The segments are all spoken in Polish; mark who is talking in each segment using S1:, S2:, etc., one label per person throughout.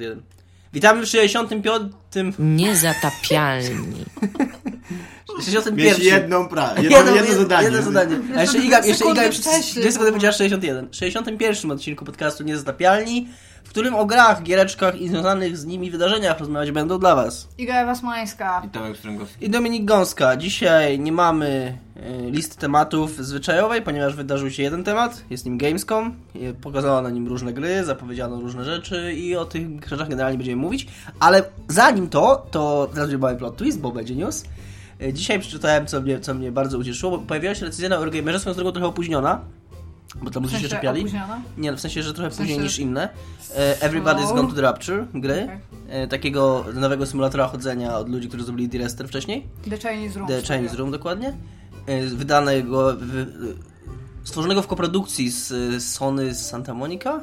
S1: Jeden. Witamy w 65.
S2: Niezatapialni.
S1: 61.
S3: Mieć jedną pra, jedno,
S1: Jedno-
S3: jedno,
S1: jed-
S3: zadanie.
S1: Jedno zadanie. A jeszcze
S4: Sekundy
S1: Iga, jeszcze Iga,
S4: wcześniej.
S1: dwie sekundy powiedziała 61. 61 odcinku podcastu Niezatapialni, w którym o grach, giereczkach i związanych z nimi wydarzeniach rozmawiać będą dla Was.
S4: Iga Wasmańska.
S3: I Tomek Strągowski.
S1: I Dominik Gąska. Dzisiaj nie mamy e, listy tematów zwyczajowej, ponieważ wydarzył się jeden temat, jest nim Gamescom. E, Pokazano na nim różne gry, zapowiedziano różne rzeczy i o tych rzeczach generalnie będziemy mówić. Ale zanim to, to teraz będzie mały plot twist, bo będzie news. E, Dzisiaj przeczytałem, co mnie, co mnie bardzo ucieszyło, bo pojawiła się recenzja na Eurogamerze, swoją drogą trochę opóźniona, bo tam ludzie się czepiali.
S4: opóźniona.
S1: Nie, no w sensie, że trochę
S4: sensie- no.
S1: później niż inne. E, Everybody's Gone to the Rapture gry.
S4: Tak.
S1: E, Takiego nowego symulatora chodzenia od ludzi, którzy zrobili D-Rester wcześniej.
S4: The Chinese Room.
S1: The Chinese Room dokładnie. E, Wydanego, wy, e, stworzonego w koprodukcji z e, Sony z Santa Monica.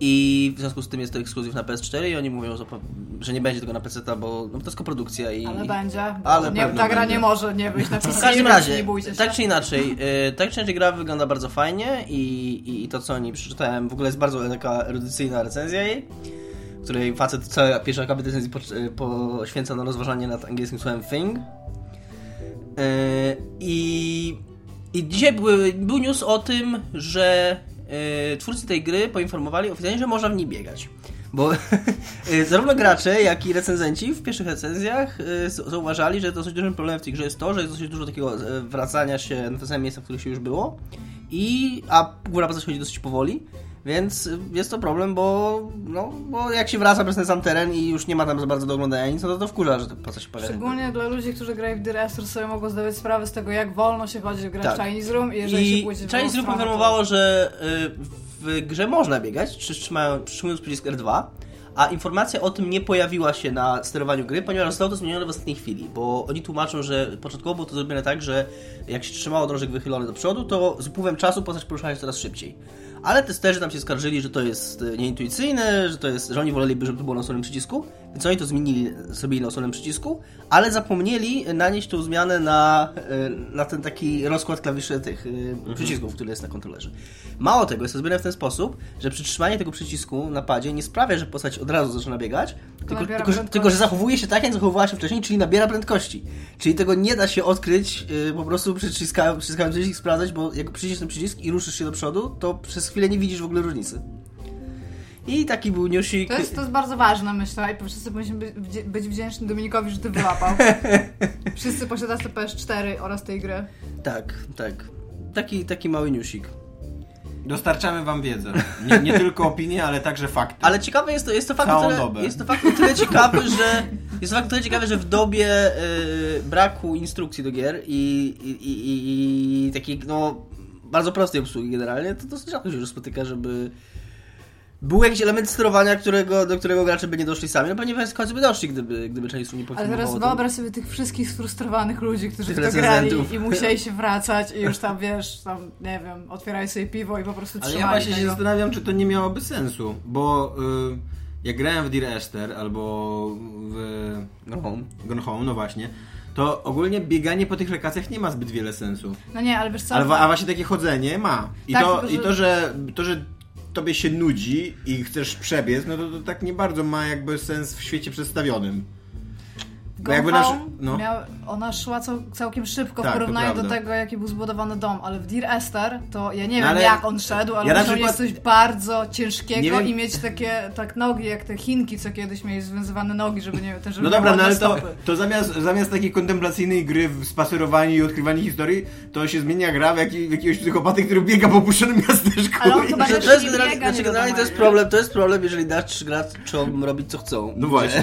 S1: I w związku z tym jest to ekskluzyw na PS4 i oni mówią, że, po- że nie będzie tego na PC, bo no, bo to jest koprodukcja i...
S4: Ale będzie.
S1: Ale
S4: nie,
S3: pewno
S4: ta gra
S3: będzie.
S4: nie może nie być na
S1: W każdym razie,
S4: Nie bójcie się.
S1: tak czy inaczej, y, tak czy inaczej gra wygląda bardzo fajnie i, i, i to co o niej przeczytałem, w ogóle jest bardzo taka erudycyjna recenzja jej, w której facet cała pierwsza akapit recenzji po, y, poświęca na rozważanie nad angielskim słowem thing. Y, E, I, i dzisiaj były, był news o tym, że y, twórcy tej gry poinformowali oficjalnie, że można w niej biegać. Bo y, zarówno gracze, jak i recenzenci w pierwszych recenzjach y, z- zauważali, że dosyć dużym problemem w tej grze jest to, że jest dosyć dużo takiego e, wracania się na te same miejsca, w których się już było, i, a góra praca chodzi dosyć powoli, więc y, jest to problem, bo, no, bo jak się wraca przez ten sam teren i już nie ma tam za bardzo do oglądania nic, no to to wkurza, że to praca się pojawia.
S4: Szczególnie dla ludzi, którzy grają w The Restore sobie mogą zdawać sprawę z tego, jak wolno się chodzi w grę
S1: Tak.
S4: w Chinese Room i jeżeli się
S1: I
S4: pójdzie w drugą
S1: część grup
S4: stronę, to-
S1: informowało, że y, w grze można biegać, czy trzymają- przytrzymując przycisk R2, a informacja o tym nie pojawiła się na sterowaniu gry, ponieważ zostało to zmienione w ostatniej chwili, bo oni tłumaczą, że początkowo było to zrobione tak, że jak się trzymało drążek wychylony do przodu, to z upływem czasu postać poruszała się coraz szybciej. Ale testerzy tam się skarżyli, że to jest y, nieintuicyjne, że to jest, że oni woleliby, żeby to było na osobnym przycisku, więc oni to zmienili sobie na osobnym przycisku, ale zapomnieli nanieść tą zmianę na, y, na ten taki rozkład klawiszy tych y, przycisków, który jest na kontrolerze. Mało tego, jest to zrobione w ten sposób, że przytrzymanie tego przycisku na padzie nie sprawia, że postać od razu zaczyna biegać, tylko,
S4: nabiera
S1: tylko, że,
S4: prędkości.
S1: tylko że zachowuje się tak, jak zachowywała się wcześniej, czyli nabiera prędkości. Czyli tego nie da się odkryć, y, po prostu przyciska- przyciskając przycisk sprawdzać, bo jak przyciśniesz ten przycisk i ruszysz się do przodu, to przez chwilę nie widzisz w ogóle różnicy. I taki był newsik.
S4: To jest, to jest bardzo ważne, myślę, i wszyscy powinniśmy być, wdzie- być wdzięczni Dominikowi, że ty wyłapał. wszyscy posiadacze PS4 oraz tej gry.
S1: Tak, tak. Taki, taki mały newsik.
S3: Dostarczamy wam wiedzę. Nie, nie tylko opinie, ale także fakty.
S1: Ale ciekawe jest to, jest to fakt,
S3: Całą
S1: o tyle,
S3: dobę.
S1: jest to fakt o tyle ciekawy, że jest to fakt o tyle ciekawy, że w dobie y, braku instrukcji do gier i, i, i, i, i takiej no bardzo prostej obsługi generalnie, to dosyć rzadko się już spotyka, żeby był jakiś element sterowania, którego, do którego gracze by nie doszli sami. No pewnie w końcu by doszli, gdyby, gdyby część osób nie
S4: Ale
S1: poinformowało.
S4: teraz
S1: o tym.
S4: wyobraź sobie tych wszystkich sfrustrowanych ludzi, którzy
S1: Tych
S4: w to grali
S1: recenzentów.
S4: i musieli się wracać i już tam, wiesz, tam, nie wiem, otwierają sobie piwo i po prostu
S3: Ale
S4: trzymali
S3: ja właśnie się
S4: tego.
S3: zastanawiam, czy to nie miałoby sensu, bo y, jak grałem w Dear Esther albo w
S1: No.
S3: Gone Home, no właśnie, to ogólnie bieganie po tych lokacjach nie ma zbyt wiele sensu.
S4: No nie, ale wiesz co?
S3: Ale, wa- a właśnie takie chodzenie ma. I,
S4: Tak,
S3: to,
S4: tylko,
S3: i to, że, to, że tobie się nudzi i chcesz przebiec, no to, to tak nie bardzo ma jakby sens w świecie przedstawionym. Bo
S4: Gone
S3: jakby
S4: Home
S3: nasz- no.
S4: miał, ona szła cał, całkiem szybko
S3: Tak,
S4: w
S3: to
S4: porównaniu do
S3: prawda.
S4: tego, jaki był zbudowany dom, ale w Dear Esther to ja nie
S3: No
S4: wiem
S3: ale-
S4: jak on szedł, ale
S3: ja na
S4: musiał mieć
S3: przykład-
S4: coś bardzo
S3: Nie
S4: ciężkiego
S3: wiem-
S4: i mieć takie tak nogi, jak te Chinki, co kiedyś mieli związywane nogi, żeby nie też żeby
S3: No
S4: miał
S3: dobra, no
S4: ładne
S3: ale to,
S4: stopy.
S3: to zamiast, zamiast takiej kontemplacyjnej gry w spacerowaniu i odkrywaniu historii, to się zmienia gra w, jaki, w jakiegoś psychopaty, który biega po opuszczonym miasteczku.
S4: Ale on
S3: i-
S4: chyba
S1: Że
S4: też
S1: to jest
S4: nie
S1: generalnie,
S4: biega,
S1: znaczy
S4: nie
S1: generalnie to jest
S4: wiadomo,
S1: problem, to jest problem, jeżeli dasz graczom robić co chcą.
S3: No właśnie.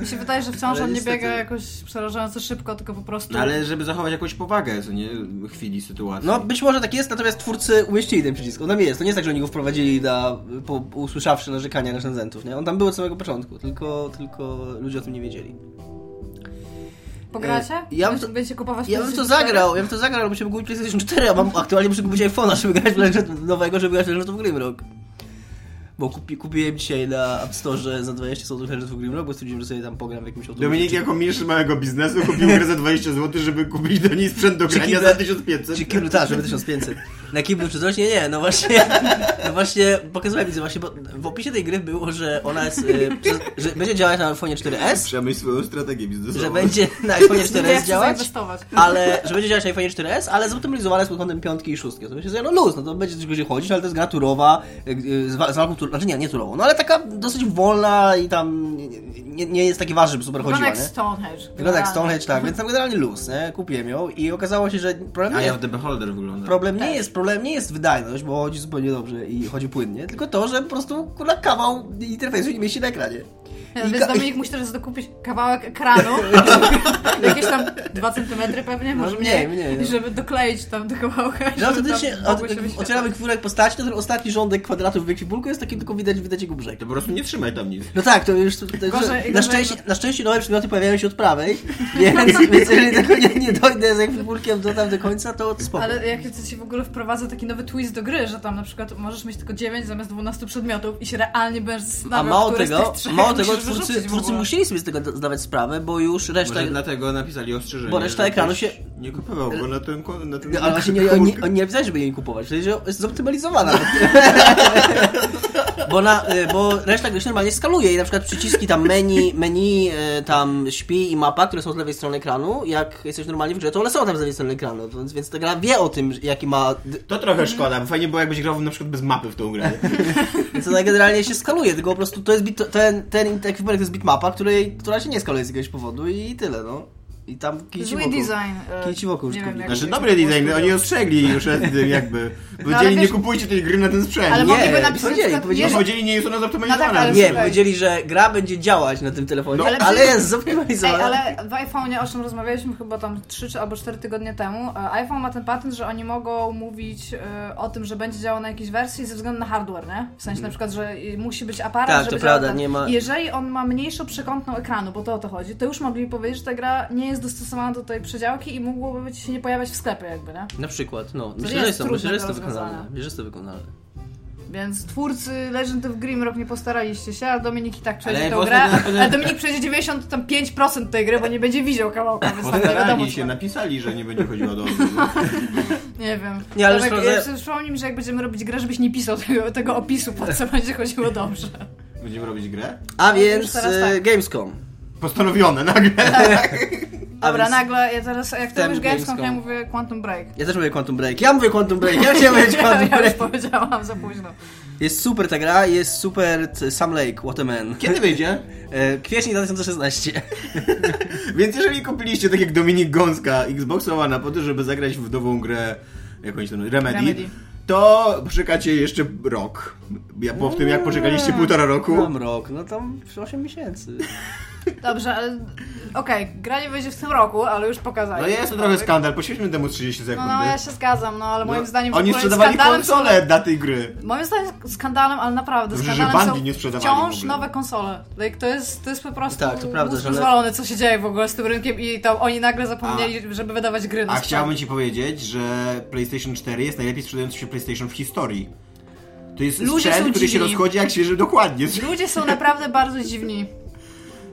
S4: Mi się wydaje, że wciąż
S1: Ale
S4: on nie
S1: niestety-
S4: biega jakoś przerażająco szybko, tylko po prostu...
S3: No ale żeby zachować jakąś powagę, co nie, chwili sytuacji.
S1: No, być może tak jest, natomiast twórcy umieścili ten przycisk. On tam jest. To nie jest tak, że oni go wprowadzili na, po, po usłyszawszy narzekania recenzentów, nie? On tam był od samego początku, tylko, tylko ludzie o tym nie wiedzieli.
S4: Pogracie?
S1: E, ja bym
S4: Będziecie-
S1: to-
S4: Będziecie kupować No
S1: Ja bym to
S4: PlayStation
S1: zagrał, ja bym to zagrał, bym się mógł kupić PlayStation 4, a mam aktualnie muszę kupić iPhone'a, żeby grać w Legend nowego, żeby grać w Legend of Grimrock. Bo kupi, kupiłem dzisiaj na App Store za 20 zł Legend of Grimrock, bo stwierdziłem, że sobie tam pogram w jakimś autobusie.
S3: Dominik jako mistrz małego biznesu kupił grę za 20 zł, żeby kupić do niej sprzęt do grania
S1: Kibel-
S3: za 1500.
S1: Czy kiblu, tak, żeby 1500. na kiblu czy coś? Nie, nie, no właśnie, no właśnie pokazywałem widzę właśnie, bo w opisie tej gry było, że ona jest, y, przez- że będzie działać na iPhone 4S,
S5: Przemyśl swoją strategię biznesową.
S1: że będzie na iPhone
S4: Nie ja
S1: 4S
S4: chcę
S1: działać, No
S4: zainwestować.
S1: ale że będzie działać na iPhone 4S, ale zoptymalizowane pod kątem piątki i szóstki. To myślę sobie, no luz, no to będzie coś będzie chodzić, ale to jest gra turowa, y, y, z wa- z walką turową, znaczy nie, nie turową, no ale taka dosyć wolna i tam nie- nie, nie jest taki ważny, żeby super
S4: Wygląda
S1: chodziła,
S4: jak
S1: nie?
S4: Stonehenge.
S1: Wygląda jak
S4: generalnie.
S1: Stonehenge, tak, więc tam generalnie luz, nie? Kupiłem ją i okazało się, że problem
S5: A
S1: nie
S5: ja
S1: jest
S5: w The Beholder wygląda.
S1: Problem
S4: Tak.
S1: nie jest, problem nie jest wydajność, bo chodzi zupełnie dobrze i chodzi płynnie, tylko to, że po prostu kurwa kawał interfejsu nie mieści na ekranie.
S4: Ja,
S1: I
S4: Więc
S1: ka-
S4: Dominik musi teraz dokupić kawałek ekranu, jakieś tam 2 cm pewnie, może
S1: mniej,
S4: mniej,
S1: mniej, no.
S4: żeby dokleić tam do kawałka.
S1: Że
S4: żeby tam
S1: autentycznie
S4: mogły
S1: od-
S4: się wyświetlać.
S1: otwieramy kwórek postaci, to ten ostatni rządek kwadratu w ekwipunku jest taki, tylko widać, widać jego brzeg.
S5: To po prostu nie trzymaj tam nic.
S1: No tak, to już to, to,
S4: Gorzej-
S1: na,
S4: gorzej-
S1: szczęście, na szczęście nowe przedmioty pojawiają się od prawej, więc, więc jeżeli tego nie, nie dojdę z ekwipunkiem do tam do końca, to spoko.
S4: Ale jak to się w ogóle wprowadza taki nowy twist do gry, że tam na przykład możesz mieć tylko 9 zamiast 12 przedmiotów i się realnie będziesz
S1: A
S4: zastanawiał,
S1: mało
S4: który z
S1: tego,
S4: tych trzech
S1: mało tego
S4: musisz
S1: twórcy,
S4: wyrzucić w
S1: twórcy
S4: ogóle.
S1: musieli sobie z tego zdawać sprawę, bo już reszta...
S5: Może dlatego napisali ostrzeżenie.
S1: Bo reszta
S5: że
S1: ekranu
S5: ktoś
S1: się-
S5: Nie kupował, bo na ten... ko- Na ten
S1: No, ale właśnie nie,
S5: komórkę-
S1: oni, oni nie napisali, żeby jej kupować, czyli że jest zoptymalizowana. bo, na, y, bo reszta gry się normalnie skaluje i na przykład przyciski tam menu, menu y, tam śpi i mapa, które są z lewej strony ekranu, jak jesteś normalnie w grze, to one są tam z lewej strony ekranu, więc, więc ta gra wie o tym, że- jaki ma... d-
S5: To
S4: Mhm.
S5: trochę szkoda, bo fajnie było jakbyś grał na przykład bez mapy w tą grę.
S4: Tak.
S1: Więc ona generalnie się skaluje, tylko po prostu to jest bit, ten, ten ekwipunek to jest bitmapa, której, która się nie skaluje z jakiegoś powodu i tyle, no. I tam kijci
S4: Zły
S1: wokół.
S4: design. e,
S1: Kij ci wokół użytkownika.
S4: jak-
S5: Znaczy
S4: jak
S5: dobry
S4: to było
S5: design,
S4: studio.
S5: oni ostrzegli już przed tym jakby.
S4: No, ale
S5: Powiedzieli,
S4: wiesz-
S5: nie kupujcie tej gry na ten sprzęt.
S4: Ale
S1: Nie,
S4: mogliby napisać
S1: powiedzieli, powiedzieli,
S4: na przykład,
S5: No
S1: że-
S4: nie,
S5: powiedzieli, nie jest ona zoptymalizowana.
S4: No tak, ale
S1: Nie,
S4: Słuchaj.
S1: powiedzieli, że gra będzie działać na tym telefonie,
S5: No,
S1: ale,
S4: ale-
S1: jest
S4: Ej,
S1: zoptymalizowana.
S4: ale w iPhone'ie, o czym rozmawialiśmy chyba tam 3 czy albo 4 tygodnie temu, e, iPhone ma ten patent, że oni mogą mówić e, o tym, że będzie działał na jakiejś wersji ze względu na hardware, nie? W sensie na przykład, że e, musi być aparat,
S1: Mhm. Tak,
S4: żeby
S1: to prawda,
S4: działał ten.
S1: nie ma-
S4: Jeżeli on ma mniejszą przekątną ekranu, bo to o to chodzi, to już mogli powiedzieć, że ta gra nie jest dostosowana do tej przedziałki i mogłoby być- się nie pojawiać w sklepie jakby, nie?
S1: Na przykład, no.
S4: nie
S1: Myślę,
S4: jest
S1: że jest to,
S4: trudne
S1: myślę, że jest to
S4: do
S1: wykonalne.
S4: rozwiązania.
S1: Myślę, że jest to wykonalne.
S4: Więc twórcy Legend of Grimrock nie postaraliście się, a Dominik i tak
S5: Ale
S4: przejdzie tą
S5: po
S4: grę,
S5: prostu na-
S4: ale Dominik przejdzie 95% tej gry, bo nie będzie widział kawałka, więc tam nie wiadomo
S5: Postarali
S4: co
S5: się, napisali, że nie będzie chodziła do osób.
S4: Nie wiem.
S1: Nie, ale
S4: Tomek,
S1: szczerze-
S4: ja sobie przypomnij mi, że jak będziemy robić grę, żebyś nie pisał tego, tego opisu, po co będzie chodziło dobrze.
S5: Będziemy robić grę?
S1: A
S4: No, już
S1: więc
S4: teraz
S1: e,
S4: tak.
S1: Gamescom.
S5: Postanowione nagle.
S4: Dobra,
S1: więc-
S4: nagle, ja teraz, jak ty
S1: Wtem
S4: mówisz Gamescom, to ja
S1: Gamescom.
S4: mówię Quantum Break.
S1: Ja też mówię Quantum Break. Ja mówię Quantum Break. Ja chciałem powiedzieć Quantum
S4: ja już
S1: Break.
S4: powiedziałam za późno.
S1: Jest super ta gra, jest super t- Sam Lake, What a Man.
S5: Kiedy wyjdzie?
S1: E, Kwiecień 2016.
S5: Więc jeżeli kupiliście tak jak Dominik Gąska Xbox One po to, żeby zagrać w nową grę jakąś tam Remedy,
S4: Remedy.
S5: to poczekacie jeszcze rok. Ja po w tym jak poczekaliście
S4: Eee.
S5: półtora roku.
S1: Mam rok, no tam 8 miesięcy.
S4: Dobrze, ale okej, gra nie będzie w tym roku, ale już pokazali.
S5: No jest to trochę skandal, poświęćmy temu 30
S4: No,
S5: sekund.
S4: no,
S5: nie?
S4: ja się zgadzam, no, ale moim
S5: No,
S4: zdaniem w
S5: Oni
S4: ogóle
S5: sprzedawali
S4: skandalem są-
S5: konsole dla tej gry.
S4: Moim zdaniem skandalem, ale naprawdę,
S5: Dobrze, że
S4: skandalem
S5: Bungie nie
S4: są
S5: sprzedawali w
S4: wciąż
S5: ogóle.
S4: nowe konsole. Like, to, jest, to jest po prostu
S1: Tak, to prawda,
S4: mózg
S1: że one-
S4: rozwalony, co się dzieje w ogóle z tym rynkiem i tam oni nagle zapomnieli, żeby wydawać gry na
S5: A
S4: sprzęt.
S5: chciałbym ci powiedzieć, że PlayStation 4 jest najlepiej sprzedający się PlayStation w historii. To jest
S4: Ludzie
S5: sprzęt,
S4: są
S5: który się
S4: dziwni.
S5: rozchodzi jak świeży dokładnie.
S4: Ludzie są naprawdę bardzo dziwni.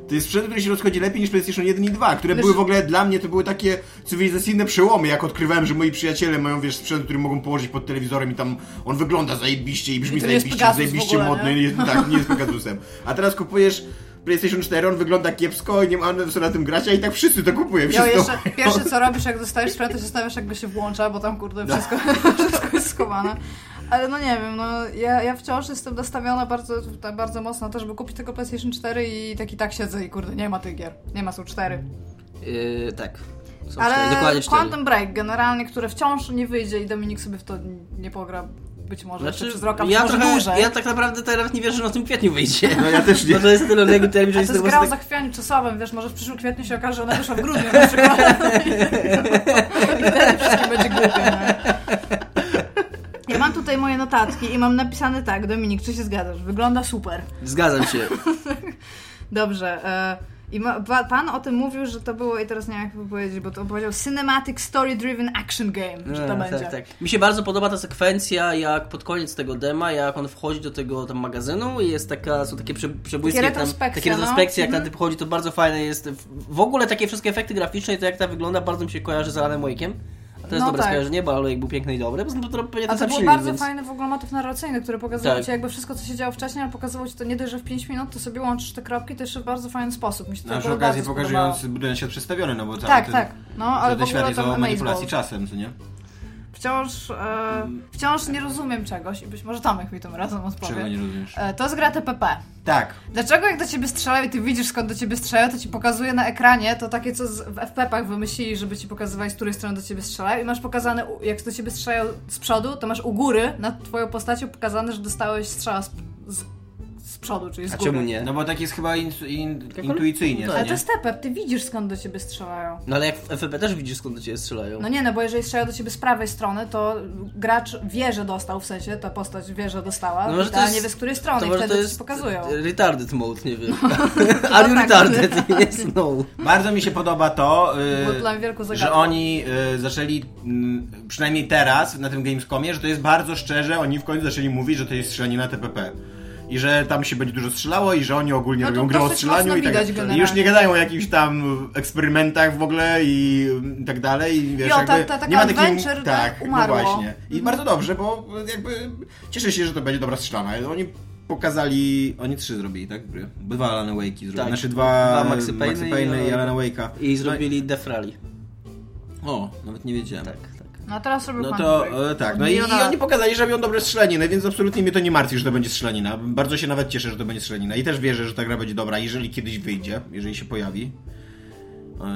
S5: To jest sprzęt, który się rozchodzi lepiej niż PlayStation 1 i 2, które
S4: Wiesz-
S5: były w ogóle dla mnie to były takie cywilizacyjne przełomy, jak odkrywałem, że moi przyjaciele mają wiesz sprzęt, który mogą położyć pod telewizorem i tam on wygląda zajebiście i brzmi
S4: I to nie jest
S5: zajebiście,
S4: Pegasus
S5: zajebiście
S4: w ogóle,
S5: modny,
S4: nie?
S5: jest, tak, nie jest Pegasusem. A teraz kupujesz PlayStation 4, on wygląda kiepsko i nie mamy co na tym grać, a i tak wszyscy to kupują.
S4: Ja
S5: Wszyscy to
S4: jeszcze,
S5: mają.
S4: pierwsze co robisz, jak dostajesz sprzęt, to się stawiasz, jak go się włącza, bo tam kurde
S5: No.
S4: wszystko, wszystko jest schowane. Ale no nie wiem, no ja, ja wciąż jestem nastawiona bardzo, bardzo mocno na to, żeby kupić tego PlayStation 4 i tak i tak siedzę i kurde, nie ma tych gier. Nie ma, są cztery.
S1: E, tak. Są
S4: Ale
S1: cztery, dokładnie 4.
S4: Quantum Break generalnie, które wciąż nie wyjdzie i Dominik sobie w to nie pogra. Być może jeszcze przez rok, a być
S1: Znaczy, ja,
S4: może
S1: trochę,
S4: dłużej.
S1: ja tak naprawdę teraz nie wierzę, że na tym kwietniu wyjdzie.
S5: No ja też
S1: Bo
S5: nie.
S1: to jest tyle odległy termin, że
S4: A to
S1: jest
S4: jest
S1: po
S4: gra o
S1: prostu- tak-
S4: zachwianiu czasowym, wiesz, może w przyszłym kwietniu się okaże, że ona wyszła w grudniu na przykład. I wtedy wszystkim będzie głupio. nie? Ja mam tutaj moje notatki i mam napisane tak, Dominik, czy się zgadzasz? Wygląda super.
S1: Zgadzam się.
S4: Dobrze. E, I ma, pa- pan o tym mówił, że to było, i teraz nie wiem jak to powiedzieć, bo to powiedział Cinematic Story Driven Action Game, że to
S1: Mm,
S4: będzie.
S1: Tak, tak. Mi się bardzo podoba ta sekwencja, jak pod koniec tego dema, jak on wchodzi do tego tam magazynu i jest taka, są takie prze, przebłyski,
S4: Takie
S1: jak tam,
S4: retrospekcje,
S1: takie
S4: no.
S1: retrospekcje, jak ten
S4: Mhm.
S1: typ chodzi, to bardzo fajne jest. W- W ogóle takie wszystkie efekty graficzne i to jak ta wygląda, bardzo mi się kojarzy z Alanem Wake'em. A to jest
S4: No
S1: dobre
S4: tak.
S1: skojarzenie, bo Alojek był piękny i dobry, bo znowu to pewnie ten
S4: A to
S1: sam
S4: był
S1: silnik,
S4: bardzo
S1: więc...
S4: fajny w ogóle motyw narracyjny, który pokazywał
S1: Tak.
S4: ci jakby wszystko, co się działo wcześniej, ale pokazywał ci to nie dość, że w 5 minut, to sobie łączysz te kropki, to jeszcze w bardzo fajny sposób. Mi się to
S3: Na przy
S4: akurat
S3: okazji
S4: bardzo
S3: pokazując
S4: spodobało.
S3: budynek świat przedstawiony, no bo cały
S4: Tak,
S3: ten,
S4: tak. No, ale
S3: cały
S4: w
S3: ten świat
S4: ogóle
S3: jest
S4: tam
S3: o manipulacji
S4: Amazeball.
S3: czasem, co nie?
S4: Wciąż, e, wciąż nie rozumiem czegoś i być może Tomek mi tym razem
S3: Czego nie
S4: odpowie.
S3: rozumiesz?
S4: E, to jest gra TPP.
S3: Tak,
S4: Dlaczego jak do ciebie strzelają i ty widzisz skąd do ciebie strzelają, to ci pokazuje na ekranie to takie, co z- w FPP-ach wymyślili, żeby ci pokazywać, z której strony do ciebie strzelają i masz pokazane, u- jak do ciebie strzelają z przodu, to masz u góry nad twoją postacią pokazane, że dostałeś strzała z, z, z przodu, czyli z
S1: A
S4: góry.
S1: czemu nie?
S3: no bo tak jest chyba intu, in,
S1: Tylko-
S3: intuicyjnie, co
S4: Ale to
S3: nie?
S4: jest TPP, ty widzisz skąd do ciebie strzelają.
S1: No ale jak w FFP też widzisz skąd do ciebie strzelają.
S4: No nie, no bo jeżeli strzelają do ciebie z prawej strony, to gracz wie, że dostał, w sensie ta postać wie, że dostała,
S1: No może
S4: no,
S1: to
S4: ale
S1: jest-
S4: nie wie, z której strony i
S1: może
S4: wtedy to ci pokazują. No
S1: e, retarded mode, nie wiem. Are you
S4: tak.
S1: retarded? Yes, no.
S3: Bardzo mi się podoba to,
S1: e,
S3: y,
S4: Było dla mnie wielką zagadką.
S3: że oni y, zaczęli, mm, przynajmniej teraz na tym Gamescomie, że to jest bardzo szczerze, oni w końcu zaczęli mówić, że to jest strzelanie na TPP. I że tam się będzie dużo strzelało i że oni ogólnie
S4: No to
S3: robią grę o
S4: dosyć
S3: strzelaniu
S4: mocno
S3: i tak
S4: widać
S3: I już nie
S4: generalnie.
S3: gadają o jakichś tam eksperymentach w ogóle i mm, tak dalej. I wiesz,
S4: Jo, ta-
S3: jakby
S4: ta taka
S3: nie ma takiej,
S4: adventure,
S3: tak,
S4: tak, umarło.
S3: No właśnie. I bardzo dobrze, bo jakby cieszę się, że to będzie dobra strzelana. Oni pokazali, oni trzy zrobili, tak? gry? Bo Dwa Alan Wake'i zrobili,
S1: Tak.
S3: znaczy dwa,
S1: Dwa Maxy Payne'y
S3: Maxy Payne'y
S1: i
S3: i Alana Wake'a.
S1: I zrobili Death Rally.
S3: O, nawet nie wiedziałem.
S1: Tak, tak.
S4: No a teraz robię
S3: No
S4: pan
S3: to
S4: Break.
S3: e, tak,
S4: Od
S3: no i, i
S4: miliona lat.
S3: oni pokazali, że robią dobre strzelaniny, więc absolutnie mnie to nie martwi, że to będzie strzelanina. Bardzo się nawet cieszę, że to będzie strzelanina i też wierzę, że ta gra będzie dobra, jeżeli kiedyś wyjdzie, jeżeli się pojawi.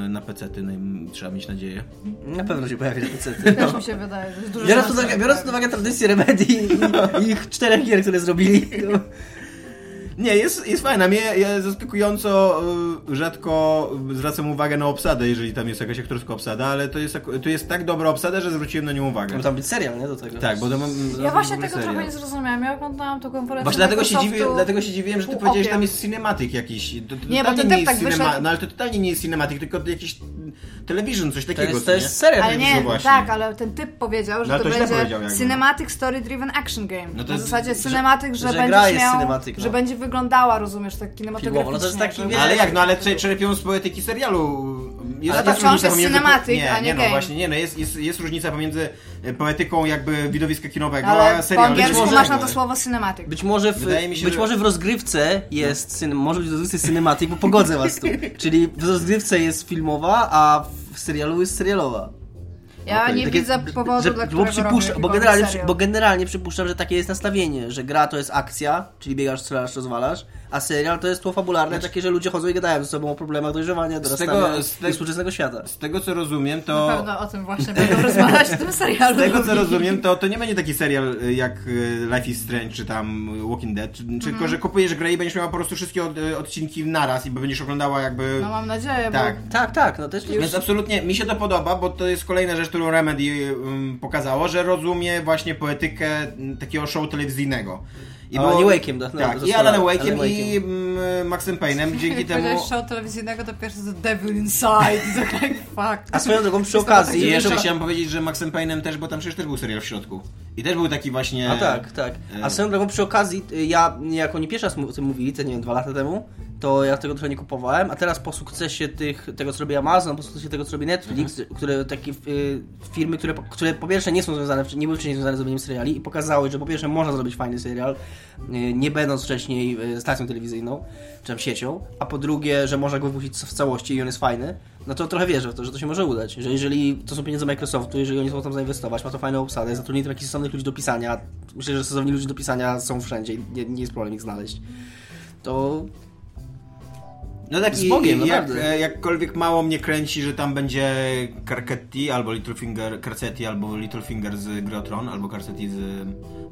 S3: E, Na PC-ty no, i trzeba mieć nadzieję.
S1: Na pewno się pojawi na PC.
S4: Też mi się wydaje, że jest dużo
S1: No. Biorąc pod,
S4: szans,
S1: uwagę,
S4: tak.
S1: biorąc pod uwagę tradycję Remedy i, i ich czterech gier, które zrobili, to
S3: Nie, jest, jest fajna. Mnie ja zaskakująco y, rzadko zwracam uwagę na obsadę, jeżeli tam jest jakaś aktorska obsada, ale to jest, ak- to jest tak dobra obsada, że zwróciłem na nią uwagę.
S1: Miał No tam być serial, nie? Do tego.
S3: Tak, bo to mam...
S4: Ja właśnie
S3: mam
S4: tego
S3: serial.
S4: trochę nie zrozumiałem. Ja oglądałam tą konferencję.
S3: Właśnie dlatego się,
S4: Microsoftu.
S3: dziwię, dlatego się dziwiłem, że ty powiedziałeś, że tam
S4: Okiem.
S3: jest cinematic jakiś. To, to
S4: Nie, bo
S3: totalnie
S4: to też
S3: jest
S4: tak
S3: cinema-
S4: wyszedł-
S3: No ale to totalnie nie jest cinematic, tylko jakiś television, coś
S1: To
S3: takiego.
S1: jest,
S3: co
S1: to
S3: nie?
S1: jest serial.
S4: Ale nie,
S3: No właśnie.
S4: tak, ale ten typ powiedział, że
S3: No,
S4: to,
S3: to źle powiedział
S4: będzie
S3: jakby.
S4: cinematic story driven action game.
S3: No to
S4: na
S3: jest-
S4: zasadzie
S3: że-
S4: cinematic, że,
S1: że gra
S4: będziesz
S1: jest
S4: miał,
S1: cinematic, no.
S4: że będzie wyglądała, rozumiesz, tak kinematograficznie.
S1: Filmowo, no to jest taki,
S4: jakby.
S1: wiesz,
S3: Ale jak, no ale cze- czerpią z poetyki serialu.
S4: Ale
S3: taka
S4: to wciąż
S3: różnica
S4: jest
S3: pomiędzy-
S4: cinematic,
S3: nie,
S4: a nie
S3: no
S4: game.
S3: właśnie, nie, no jest, jest, jest różnica pomiędzy e, poetyką jakby widowiska kinowego,
S4: No, Ale
S3: a
S4: po
S3: serialem. tak.
S4: angielsku
S1: Być może-
S4: masz na to słowo cinematic.
S1: Być może w,
S3: Wydaje mi się,
S1: być
S3: że-
S1: może w rozgrywce jest, cyn, może być w rozgrywce cinematic, bo pogodzę was tu. Czyli w rozgrywce jest filmowa, a w serialu jest serialowa.
S4: Ja
S3: Okej,
S4: nie
S1: Takie-
S4: widzę powodu,
S1: że,
S4: dla
S1: bo,
S4: którego
S1: przypuszcz,
S4: robię
S1: bo, generalnie,
S4: serial.
S1: bo generalnie przypuszczam, że takie jest nastawienie, że gra to jest akcja, czyli biegasz, strzelasz, rozwalasz, a serial to jest tło fabularne, takie, że ludzie chodzą i gadają ze sobą o problemach dojrzewania, dorastania
S3: tego-
S1: z
S3: Znaczy- z te-
S1: współczesnego świata.
S3: Z tego co rozumiem, to.
S4: Na pewno o tym właśnie będą rozmawiać w tym serialu.
S3: Z tego co rozumiem, to, to nie będzie taki serial y, jak y, Life is Strange czy tam y, Walking Dead, czy,
S4: Mhm.
S3: czy tylko że kupujesz grę i będziesz miała po prostu wszystkie od, y, odcinki naraz i będziesz oglądała jakby...
S4: No mam nadzieję,
S3: tak.
S4: bo
S1: Tak, tak, no też
S3: Więc absolutnie mi się to podoba, bo to jest kolejna rzecz, którą Remedy y, ym, pokazało, że rozumie właśnie poetykę m, takiego show telewizyjnego.
S1: A
S3: było-
S1: Alan Wake'iem, no, no,
S3: tak,
S1: to
S3: i Alan
S1: zasłona-
S3: Wake'iem
S1: Alan
S3: i mm, Maxem Payne'em, dzięki
S4: jak
S3: temu...
S4: powiedziałeś show telewizyjnego, to pierwszy to Devil Inside. I tak, like, fuck.
S1: A swoją drogą przy
S4: Jest to tak
S1: okazji...
S3: I jeszcze
S1: Dobra.
S3: chciałem powiedzieć, że Maxem Payne'em też, bo tam przecież też był serial w środku. I też był taki właśnie...
S1: A tak, tak. A
S3: e,
S1: swoją drogą przy okazji, y, ja jak oni pierwszy raz mu- o tym mówili, te nie wiem, dwa lata temu, to ja tego trochę nie kupowałem, a teraz po sukcesie tych, tego, co robi Amazon, po sukcesie tego, co robi Netflix, które takie y, firmy, które, po- które po pierwsze nie są związane, w- nie były wcześniej związane z robieniem seriali i pokazały, że po pierwsze można zrobić fajny serial, y, nie będąc wcześniej y, stacją telewizyjną, czy tam siecią, a po drugie, że można go wypuścić w całości i on jest fajny, no to trochę wierzę w to, że to się może udać. Że jeżeli to są pieniądze Microsoftu, jeżeli oni chcą tam zainwestować, ma to fajną obsadę, zatrudnili tam jakichś sensownych ludzi do pisania, myślę, że sensowni ludzie do pisania są wszędzie i nie, nie jest problem ich znaleźć. To
S3: No tak
S1: Z
S3: i-
S1: Bogiem,
S3: i jak,
S1: naprawdę.
S3: e, jakkolwiek mało mnie kręci, że tam będzie Carcetti albo Littlefinger, Carcetti albo Littlefinger z Grotron, albo Carcetti z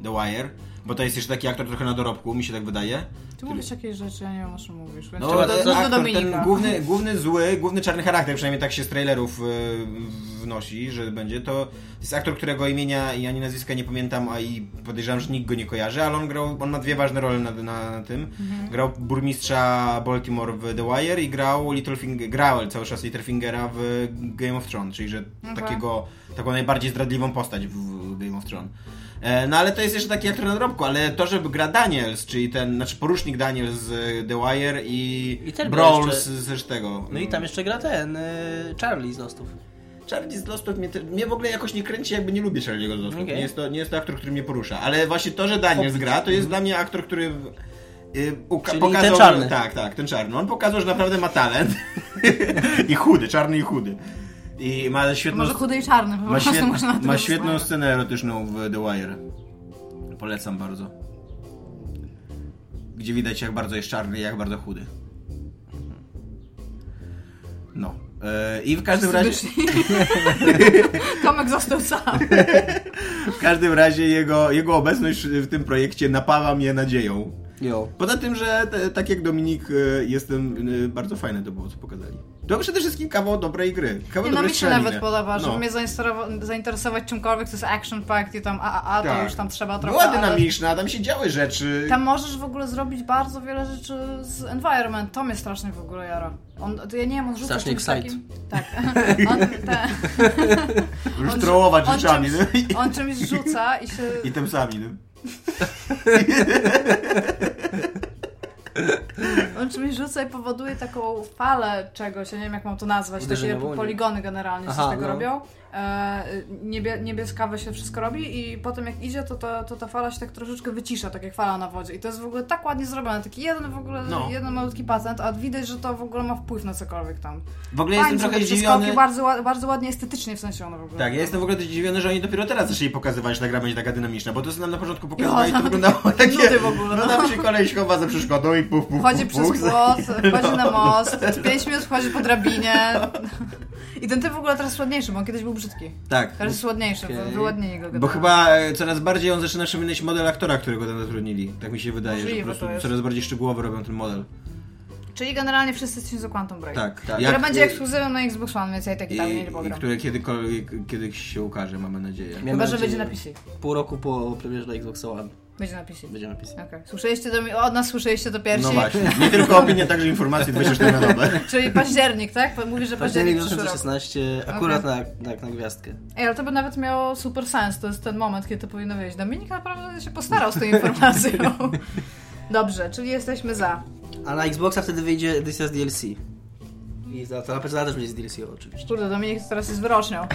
S3: The Wire, bo to jest jeszcze taki aktor trochę na dorobku, mi się tak wydaje.
S4: Ty mówisz jakieś rzeczy, ja nie wiem o czym mówisz. Więc
S3: No,
S4: trzeba
S1: to-
S4: do-
S1: to-
S4: do
S3: aktor, ten
S4: Dominika.
S3: główny, główny zły, główny czarny charakter, przynajmniej tak się z trailerów e, wnosi, że będzie, to jest aktor, którego imienia i ani nazwiska nie pamiętam, a i podejrzewam, że nikt go nie kojarzy, ale on grał, on ma dwie ważne role na, na, na tym. Grał burmistrza Baltimore w The Wire i grał Littlefinger, grał cały czas Littlefingera w Game of Thrones, czyli że
S4: Okej.
S3: takiego, taką najbardziej zdradliwą postać w Game of Thrones. E, No ale to jest jeszcze taki aktor na dorobku, ale to, że gra Daniels, czyli ten, znaczy porusznik Daniels z e, The Wire i,
S1: I ten był
S3: Brawl
S1: jeszcze-
S3: z, z tego.
S1: No i tam jeszcze gra ten y, Charlie z Lostów.
S3: Charlie z Lostów mnie, te- mnie w ogóle jakoś nie kręci, jakby nie lubię Charlie'ego z Lostów.
S1: Okej.
S3: Nie, jest to, nie jest to aktor, który mnie porusza. Ale właśnie to, że Daniel gra, to jest dla mnie aktor, który y, uka-
S1: Mhm. Czyli ten czarny.
S3: Tak, tak, ten czarny. On pokazał, że naprawdę ma talent. I chudy, czarny i chudy. I ma świetną,
S4: Może chudy i czarny, po
S3: ma
S4: prostu
S3: świet,
S4: można na tym
S3: ma świetną
S4: rozmawiać.
S3: scenę erotyczną w The Wire. Polecam bardzo. Gdzie widać, jak bardzo jest czarny i jak bardzo chudy. No. E, I w każdym razie...
S4: Wszyscy wyszli. Tomek został sam.
S3: W każdym razie jego, jego obecność w tym projekcie napawa mnie nadzieją.
S1: Jo.
S3: Poza tym, że te, tak jak Dominik, e, jestem e, bardzo fajne to było, co pokazali. To przede wszystkim kawał dobrej gry. Kawał
S4: Nie, no
S3: dobrej
S4: mi się
S3: strzelaniny.
S4: nawet podoba, żeby
S3: No.
S4: mnie zainteresowa- zainteresować czymkolwiek, to jest action packed i tam a, a, a to
S3: Tak.
S4: już tam trzeba trochę...
S3: Była
S4: ale-
S3: dynamiczna, tam się działy rzeczy.
S4: Tam możesz w ogóle zrobić bardzo wiele rzeczy z environment. To mnie strasznie w ogóle jara. On, to ja nie wiem, on rzuca
S1: Strasznie
S4: czymś
S1: excite.
S4: takim... Tak. On, te,
S3: Już
S4: on,
S3: trołować
S4: on
S3: rzeczami.
S4: czymś,
S3: no i-
S4: on czymś rzuca i się...
S3: I tym sami. No.
S4: On czymś rzuca i powoduje taką falę czegoś, ja nie wiem jak mam to nazwać, takie
S1: Uderzeniową, nie?
S4: poligony generalnie
S1: Aha,
S4: się z tego
S1: no.
S4: robią. E, niebie, niebieskawe się wszystko robi i potem jak idzie, to, to, to ta fala się tak troszeczkę wycisza, tak jak fala na wodzie. I to jest w ogóle tak ładnie zrobione, taki jeden w ogóle,
S3: No.
S4: jeden malutki patent, a widać, że to w ogóle ma wpływ na cokolwiek tam.
S3: W ogóle
S4: Fajnie
S3: jestem
S4: są
S3: trochę
S4: te
S3: zdziwiony.
S4: przeskoki, bardzo, ład- bardzo ładnie estetycznie w sensie one w ogóle.
S3: Tak, ja jestem w ogóle zdziwiony, że oni dopiero teraz zaczęli pokazywać, że ta gra będzie taka dynamiczna, bo to co nam na początku pokazywali,
S4: tam
S3: to wyglądało
S4: takie nudy
S3: takie...
S4: w ogóle,
S3: No
S4: no.
S3: tam się kolej chowa za przeszkodą i puf, puf,
S4: Wchodzi
S3: puf,
S4: przez
S3: puf.
S4: płot, wchodzi na most, 5 minut wchodzi po drabinie. I ten typ w ogóle teraz jest ładniejszy, bo on kiedyś był brzydki.
S3: Tak.
S4: Teraz jest ładniejszy,
S1: Okej.
S4: okay. wyładniej go
S3: Bo
S4: generalnie.
S3: chyba e, coraz bardziej on zaczyna przypominać model aktora, którego tam zatrudnili. Tak mi się wydaje, że
S4: Możliwe
S3: po prostu
S4: to jest.
S3: coraz bardziej szczegółowo robią ten model.
S4: Czyli generalnie wszyscy ci z Quantum Break.
S3: Tak,
S1: Tak.
S4: Która
S3: Jak-
S4: będzie ekskluzywem na Xbox One, więc ja i tak
S3: I,
S4: dawniej nie
S3: i
S4: pogram.
S3: które kiedykolwiek, kiedyś się ukaże, mamy nadzieję.
S1: Miałem
S4: Chyba, że będzie
S1: nadzieję,
S4: na PC.
S1: Pół roku po premierze na Xbox One
S4: Będzie na PC.
S1: będzie na PC.
S4: Okej. Słyszeliście do mi- od nas słyszeliście to pierwsi.
S3: No właśnie, nie tylko opinie, także informacje 24 na dobę.
S4: Czyli październik, tak? Mówisz, że
S1: Październik
S4: październik przyszły rok.
S1: 2016, akurat na, tak, na, na gwiazdkę.
S4: Ej, ale to by nawet miało super sens. To jest ten moment, kiedy to powinno wyjść. Dominik naprawdę się postarał z tą informacją. Dobrze, czyli jesteśmy za.
S1: A na Xboxa wtedy wyjdzie edycja z DLC. I za to na PC też będzie z DLC oczywiście.
S4: Kurde, Dominik teraz jest wyrocznią.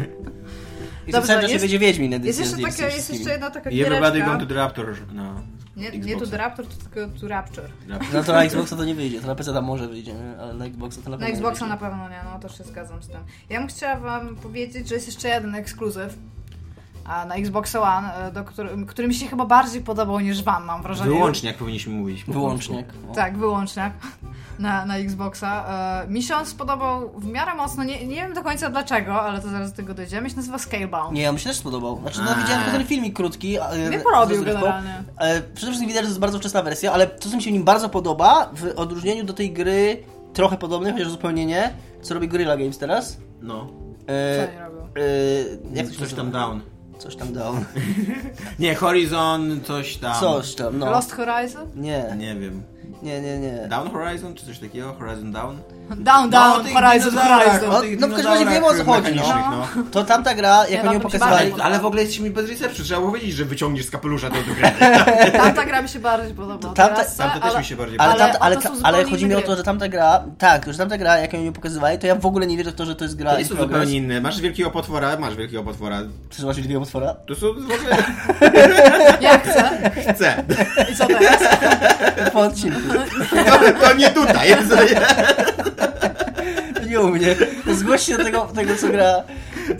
S1: I
S4: Dobrze,
S1: Dobrze, cały czas nie
S4: jest-
S1: będzie Wiedźmin
S4: Jest
S1: edycja z
S4: jeszcze,
S1: DLC.
S4: taka,
S1: z
S4: jest
S1: wszystkimi.
S4: jeszcze jedna taka
S3: Everybody gone
S4: giereczka.
S3: to the Raptor. No.
S4: Nie, nie tu
S3: Xboxa.
S4: do Raptor, to tylko tu Rapture.
S1: No to na Xboxa to nie wyjdzie, to na PC tam może wyjdzie, nie? ale na Xboxa to na pewno
S4: Na
S1: nie
S4: Xboxa na
S1: wyjdzie.
S4: pewno nie, no to się zgadzam z tym. Ja bym chciała wam powiedzieć, że jest jeszcze jeden ekskluzyw. A na Xbox One, e, do którym, który mi się chyba bardziej podobał niż wam, mam wrażenie.
S3: Wyłącznie, jak powinniśmy mówić. po
S1: Wyłącznik. no.
S3: polsku.
S1: O.
S4: Tak, wyłączniak na, na Xboxa. E, mi się on spodobał w miarę mocno, nie, nie wiem do końca dlaczego, ale to zaraz do tego dojdziemy. Się nazywa Scalebound.
S1: Nie, ja mi się też spodobał. Znaczy,
S3: A.
S1: no, widziałem tylko ten filmik krótki. ale-
S4: Mnie
S1: z
S4: porobił
S1: rozrywką.
S4: generalnie.
S1: E, Przede wszystkim widać, że to jest bardzo wczesna wersja, ale to, co mi się w nim bardzo podoba, w odróżnieniu do tej gry trochę podobnej, chociaż zupełnie nie, co robi Guerrilla Games teraz. E,
S3: No.
S4: Co oni robią?
S1: e, jak to się
S3: Coś
S1: nazywa?
S3: tam down.
S1: Coś tam down.
S3: Nie, Horizon, coś tam.
S1: Coś tam, no.
S4: Lost Horizon?
S1: Nie,
S3: Nie wiem.
S1: nie, nie, nie.
S3: Down Horizon, czy coś takiego? Horizon Down?
S4: Down,
S3: No, o
S4: down,
S3: tych
S4: Horizon,
S3: dinozaurach,
S4: Horizon.
S1: No,
S3: o tych
S1: no, w każdym razie wiemy, o co
S3: dinozaurach
S1: chodzi, no.
S3: mechanicznych,
S1: To tamta gra, jak
S4: Nie,
S1: oni ją
S4: tam być
S1: pokazywali...
S4: bardziej-
S3: Ale, ale w ogóle jesteśmy bez recepcji, trzeba było wiedzieć, że wyciągniesz z kapelusza tę grę.
S4: Tamta gra mi się bardziej podoba.
S1: Tamta-
S3: tamta też mi się bardziej
S1: Ale,
S3: Ale-
S1: tamta, ale,
S4: to
S1: ta,
S4: są
S1: ale
S4: zupełnie
S1: chodzi mi
S4: inne
S1: o
S4: gry.
S1: to, że tamta gra, tak, że tamta gra, jak ją pokazywali, to ja w ogóle nie wierzę w to, że to jest gra.
S3: To
S1: i
S3: jest to
S1: progres.
S3: zupełnie inne. Masz wielkiego potwora, masz wielkiego potwora.
S1: Czy zobaczyć wielkiego potwora?
S3: To są w ogóle...
S4: Ja chcę.
S3: Chcę.
S4: I co teraz?
S1: Po odcinku.
S3: To, to nie tutaj.
S1: To nie u mnie. Zgłoś się do tego, tego co gra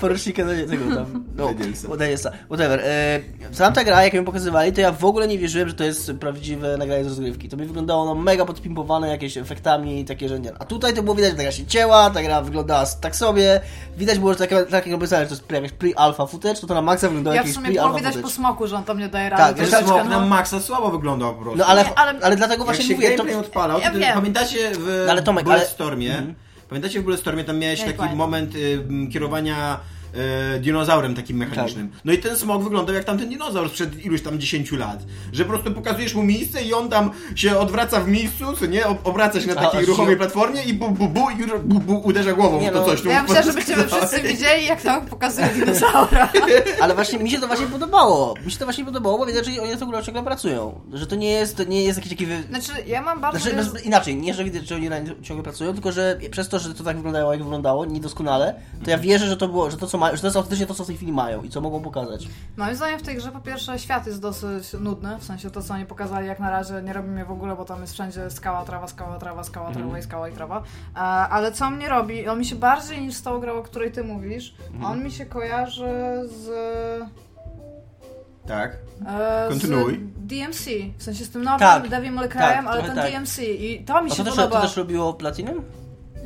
S1: porucznika do tego tam. No,
S3: Danielsa.
S1: u Danielsa. Whatever. E, tamta gra, jak mi pokazywali, to ja w ogóle nie wierzyłem, że to jest prawdziwe nagranie z rozgrywki. To mi wyglądało no, mega podpimpowane jakieś efektami i takie, że nie. A tutaj to było widać, że ta gra się cięła, ta gra wyglądała s- tak sobie. Widać było, że takie, takie obiecane, że to jest pre- jakieś pre-alpha footage, to to na maksa wyglądało
S4: Ja
S1: jak
S4: w
S1: jakieś
S4: sumie było
S1: pre-alpha
S4: widać po
S1: footage.
S4: smoku, że on tam nie daje
S1: Tak,
S4: rady.
S1: jest
S3: Ten
S4: troszeczkę,
S3: smok na
S4: no.
S3: maksa słabo wyglądał po prostu.
S1: No ale,
S4: Nie, ale-
S1: ale, dlatego właśnie
S3: Jak się
S1: mówię, to,
S3: gameplay odpalał,
S4: Ja
S3: to
S4: wiem.
S3: pamiętacie w
S1: No ale Tomek, ale-
S3: Bulletstormie, pamiętacie w Bulletstormie, tam miałeś taki
S4: Deadline.
S3: moment y, m, kierowania e, dinozaurem takim mechanicznym.
S1: Tak.
S3: No i ten smog wyglądał jak tamten dinozaur sprzed iluś tam 10 lat. Że po prostu pokazujesz mu miejsce i on tam się odwraca w miejscu, co nie? Ob- Obraca się na
S1: A,
S3: takiej
S1: a się-
S3: ruchomej platformie i bu, bu, bu, i ru- bu, bu uderza głową
S1: Nie
S3: w to
S1: no,
S3: coś. tu
S4: Ja myślę, że
S3: po-
S4: będziemy wszyscy widzieli, jak tam pokazuje dinozaura.
S1: Ale właśnie mi się to właśnie podobało. Mi się to właśnie podobało, bo widać, że oni na tą grą ciągle pracują. Że to nie jest, to nie jest jakiś taki... Wy...
S4: Znaczy, ja mam bardzo...
S1: Znaczy,
S3: no,
S4: wiele-
S1: bez, inaczej, nie, że widać, że oni na nim ciągle pracują, tylko że przez to, że to tak wyglądało, jak wyglądało, niedoskonale, to ja wierzę, że to było, że to co mają, że to jest autentycznie to, co w tej chwili mają i co mogą pokazać.
S4: Moim zdaniem w tej grze po pierwsze świat jest dosyć nudny, w sensie to co oni pokazali jak na razie nie robi mnie w ogóle, bo tam jest wszędzie skała, trawa, skała, trawa, skała,
S1: Mhm.
S4: trawa i skała i trawa. E, ale co mnie robi, on mi się bardziej niż z tą grą, o której ty mówisz,
S1: Mhm.
S4: on mi się kojarzy z...
S3: Tak.
S4: e,
S3: Kontynuuj.
S4: Z DMC, w sensie z tym nowym
S1: Tak.
S4: Devim May Cryem,
S1: Tak,
S4: ale
S1: trochę
S4: ten
S1: tak.
S4: DMC i to mi
S1: A to
S4: się
S1: też, to
S4: podoba.
S1: też robiło Platinum?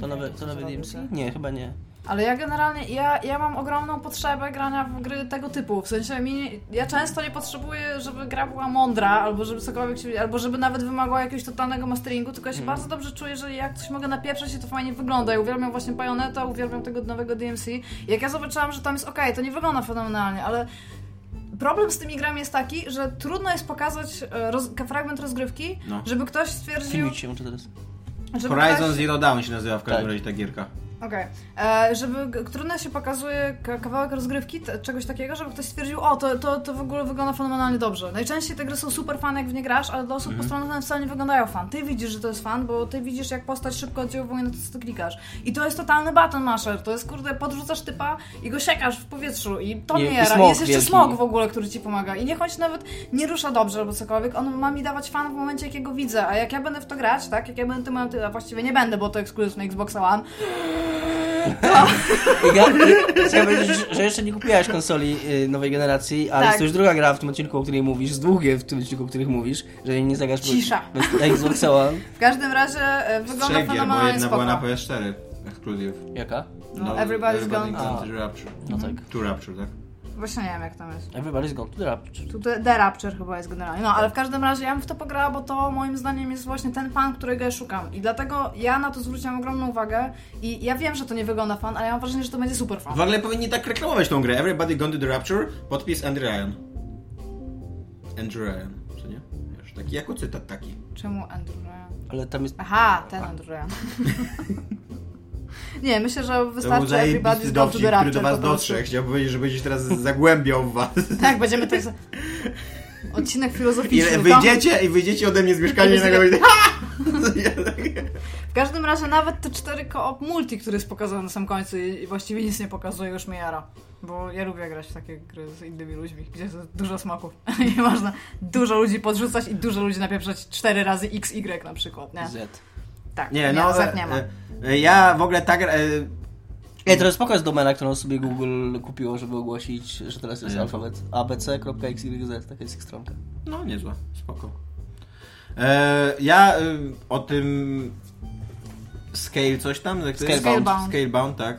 S1: To nowe, to nowe
S4: robił,
S1: DMC?
S4: tak.
S1: Nie, chyba nie.
S4: Ale ja generalnie, ja, ja mam ogromną potrzebę grania w gry tego typu. W sensie mi, ja często nie potrzebuję, żeby gra była mądra, albo żeby cokolwiek się, albo żeby nawet wymagała jakiegoś totalnego masteringu, tylko ja
S3: Mhm.
S4: się bardzo dobrze czuję, że jak coś mogę napieprzeć, to fajnie wygląda. Ja uwielbiam właśnie Bayonetta, uwielbiam tego nowego DMC. Jak ja zobaczyłam, że tam jest okej, to nie wygląda fenomenalnie, ale Problem z tymi grami jest taki, że trudno jest pokazać e, roz, fragment rozgrywki,
S3: No.
S4: żeby ktoś stwierdził,
S1: Filmik się czy teraz.
S4: żeby
S3: Horizon
S4: ktoś...
S3: Zero Dawn się nazywa w każdym
S1: Tak.
S3: razie ta gierka.
S4: Okej. E, Żeby g- trudno się pokazuje k- kawałek rozgrywki, t- czegoś takiego, żeby ktoś stwierdził, o, to, to, to w ogóle wygląda fenomenalnie dobrze. Najczęściej te gry są super fan, jak w nie grasz, ale dla osób
S1: Mhm.
S4: postronnych one wcale nie wyglądają fan. Ty widzisz, że to jest fan, bo ty widzisz, jak postać szybko oddziałuje na to, co ty klikasz. I to jest totalny button masher. To jest, kurde, podrzucasz typa i go siekasz w powietrzu i to
S1: Nie,
S4: nie
S1: i
S4: jara.
S1: smog
S4: Jest jeszcze
S1: wielki.
S4: smog w ogóle, który ci pomaga. I niech on się nawet nie rusza dobrze albo cokolwiek, on ma mi dawać fan w momencie, jak ja go widzę. A jak ja będę w to grać, tak, jak ja będę tym, a właściwie nie będę, bo to ekskluzyw na Xboxa One,
S1: I ja, i- chciałem powiedzieć, że- że jeszcze nie kupiłaś konsoli y, nowej generacji, ale
S4: Tak.
S1: jest to już druga gra w tym odcinku, o której mówisz, z długie w tym odcinku, o których mówisz, że nie zagrasz...
S4: Cisza.
S1: bez- Xbox One.
S4: W każdym razie e, wygląda
S3: Trzech gier, bo
S4: fenomenalnie
S3: jedna była na
S4: spoko.
S3: PS4. Ekskluzyw.
S1: Jaka?
S4: No, Everybody's Gone.
S3: Gone to Rapture.
S1: No
S4: Mhm.
S1: tak.
S3: To Rapture, tak?
S4: Właśnie nie wiem jak tam jest.
S1: Everybody's gone to the rapture.
S4: Tu The, The Rapture chyba jest generalnie. No, ale w każdym razie ja bym w to pograła, bo to moim zdaniem jest właśnie ten fan, którego ja szukam. I dlatego ja na to zwróciłam ogromną uwagę i ja wiem, że to nie wygląda fan, ale ja mam wrażenie, że to będzie super fan.
S3: W ogóle powinni tak reklamować tą grę. Everybody Gone to the Rapture, podpis Andrew Ryan. Andrew Ryan, co nie? Wiesz, taki jako cytat taki.
S4: Czemu Andrew Ryan?
S1: Ale tam jest...
S4: Aha, ten Andrew Ryan. nie, myślę, że
S3: To był
S4: wystarczy
S3: zajebisty
S4: Everybody's Gone to
S3: dowcip,
S4: the
S3: który
S4: Rapture.
S3: do was
S4: po prostu.
S3: dotrze. Chciałbym powiedzieć, że będzie się teraz zagłębiał w was.
S4: Tak, będziemy tak... za- Odcinek
S3: I
S4: filozoficzny.
S3: wyjdziecie i wyjdziecie ode mnie z mieszkania i nagle będzie...
S4: W każdym razie nawet te cztery koop multi, który jest pokazany na sam końcu i i właściwie nic nie pokazuje, już mnie jara. Bo ja lubię grać w takie gry z innymi ludźmi, gdzie jest dużo smaków. I można dużo ludzi podrzucać i dużo ludzi napieprzać cztery razy XY na przykład, nie?
S1: Z.
S4: Tak,
S3: Nie, no...
S4: Zet nie ma.
S3: e, e, Ja w ogóle tak... e,
S1: Ej, to jest spoko jest domena, którą sobie Google kupiło, żeby ogłosić, że teraz jest
S3: Nie.
S1: alfabet abc.xyz, Y, taka jest ich stronka.
S3: No, niezła, spoko. E, ja e, o tym Scale coś tam? jak to jest?
S4: Scalebound.
S3: Scalebound, tak.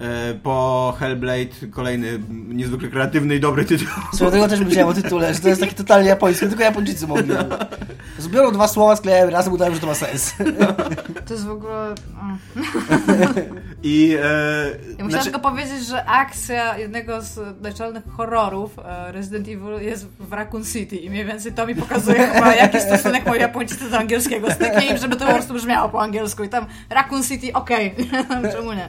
S3: E, po Hellblade kolejny m, niezwykle kreatywny i dobry tytuł.
S1: Słuchaj, tego też myślałem o tytule, że to jest taki totalnie japoński, tylko Japończycy mogli. Zbiorą dwa słowa, sklejają razem, udają, że to ma sens.
S4: To jest w ogóle... mm.
S3: I e,
S4: Ja musiałam
S3: znaczy,
S4: tylko powiedzieć, że akcja jednego z naczelnych horrorów e, Resident Evil jest w Raccoon City i mniej więcej to mi pokazuje chyba jaki stosunek mają Japończycy do angielskiego. Styknie im, żeby to po prostu brzmiało po angielsku i tam Raccoon City, okej, czemu nie?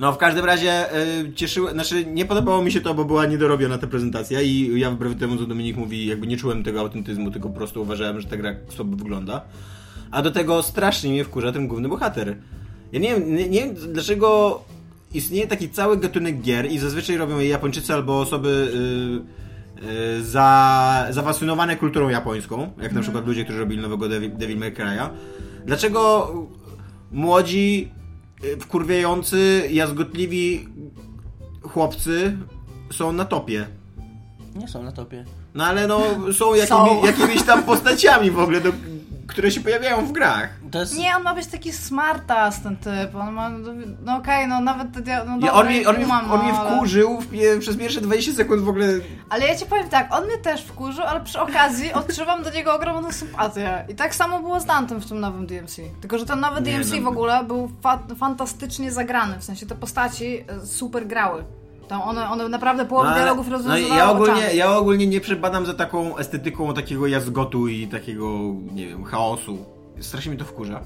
S3: no w każdym razie e, cieszyły, znaczy nie podobało mi się to, bo była niedorobiona ta prezentacja i ja wbrew temu, co Dominik mówi, jakby nie czułem tego autentyzmu, tylko po prostu uważałem, że ta gra słabo wygląda. A do tego strasznie mnie wkurza ten główny bohater. Ja nie wiem, nie, nie wiem dlaczego istnieje taki cały gatunek gier i zazwyczaj robią je Japończycy albo osoby yy, yy, za, zafascynowane kulturą japońską, jak na przykład ludzie, którzy robili nowego Devil, Devil May Cry'a. Dlaczego młodzi, yy, wkurwiający, jazgotliwi chłopcy są na topie?
S1: Nie są na topie.
S3: No ale no, są, jakimi,
S4: Są.
S3: jakimiś tam postaciami w ogóle, do, które się pojawiają w grach.
S1: To jest...
S4: Nie, on ma być taki smartas ten typ. On ma, no okej, no nawet te dia- no
S3: Ja,
S4: dobra,
S3: on, mnie, on, mnie,
S4: kumam,
S3: on mnie
S4: no, ale-
S3: wkurzył w, pie- przez pierwsze 20 sekund w ogóle.
S4: Ale ja ci powiem tak, on mnie też wkurzył, ale przy okazji odczuwam do niego ogromną sympatię. I tak samo było z Dantem w tym nowym DMC. Tylko, że ten nowy
S3: Nie,
S4: DMC
S3: no-
S4: w ogóle był fa- fantastycznie zagrany, w sensie te postaci e, super grały. Tam one, one naprawdę połowę
S3: No, ale-
S4: dialogów tak.
S3: no,
S4: rozwiązywały
S3: i ja, ogólnie,
S4: oczami.
S3: ja ogólnie nie przebadam za taką estetyką takiego jazgotu i takiego, nie wiem, chaosu. Strasznie mi to wkurza.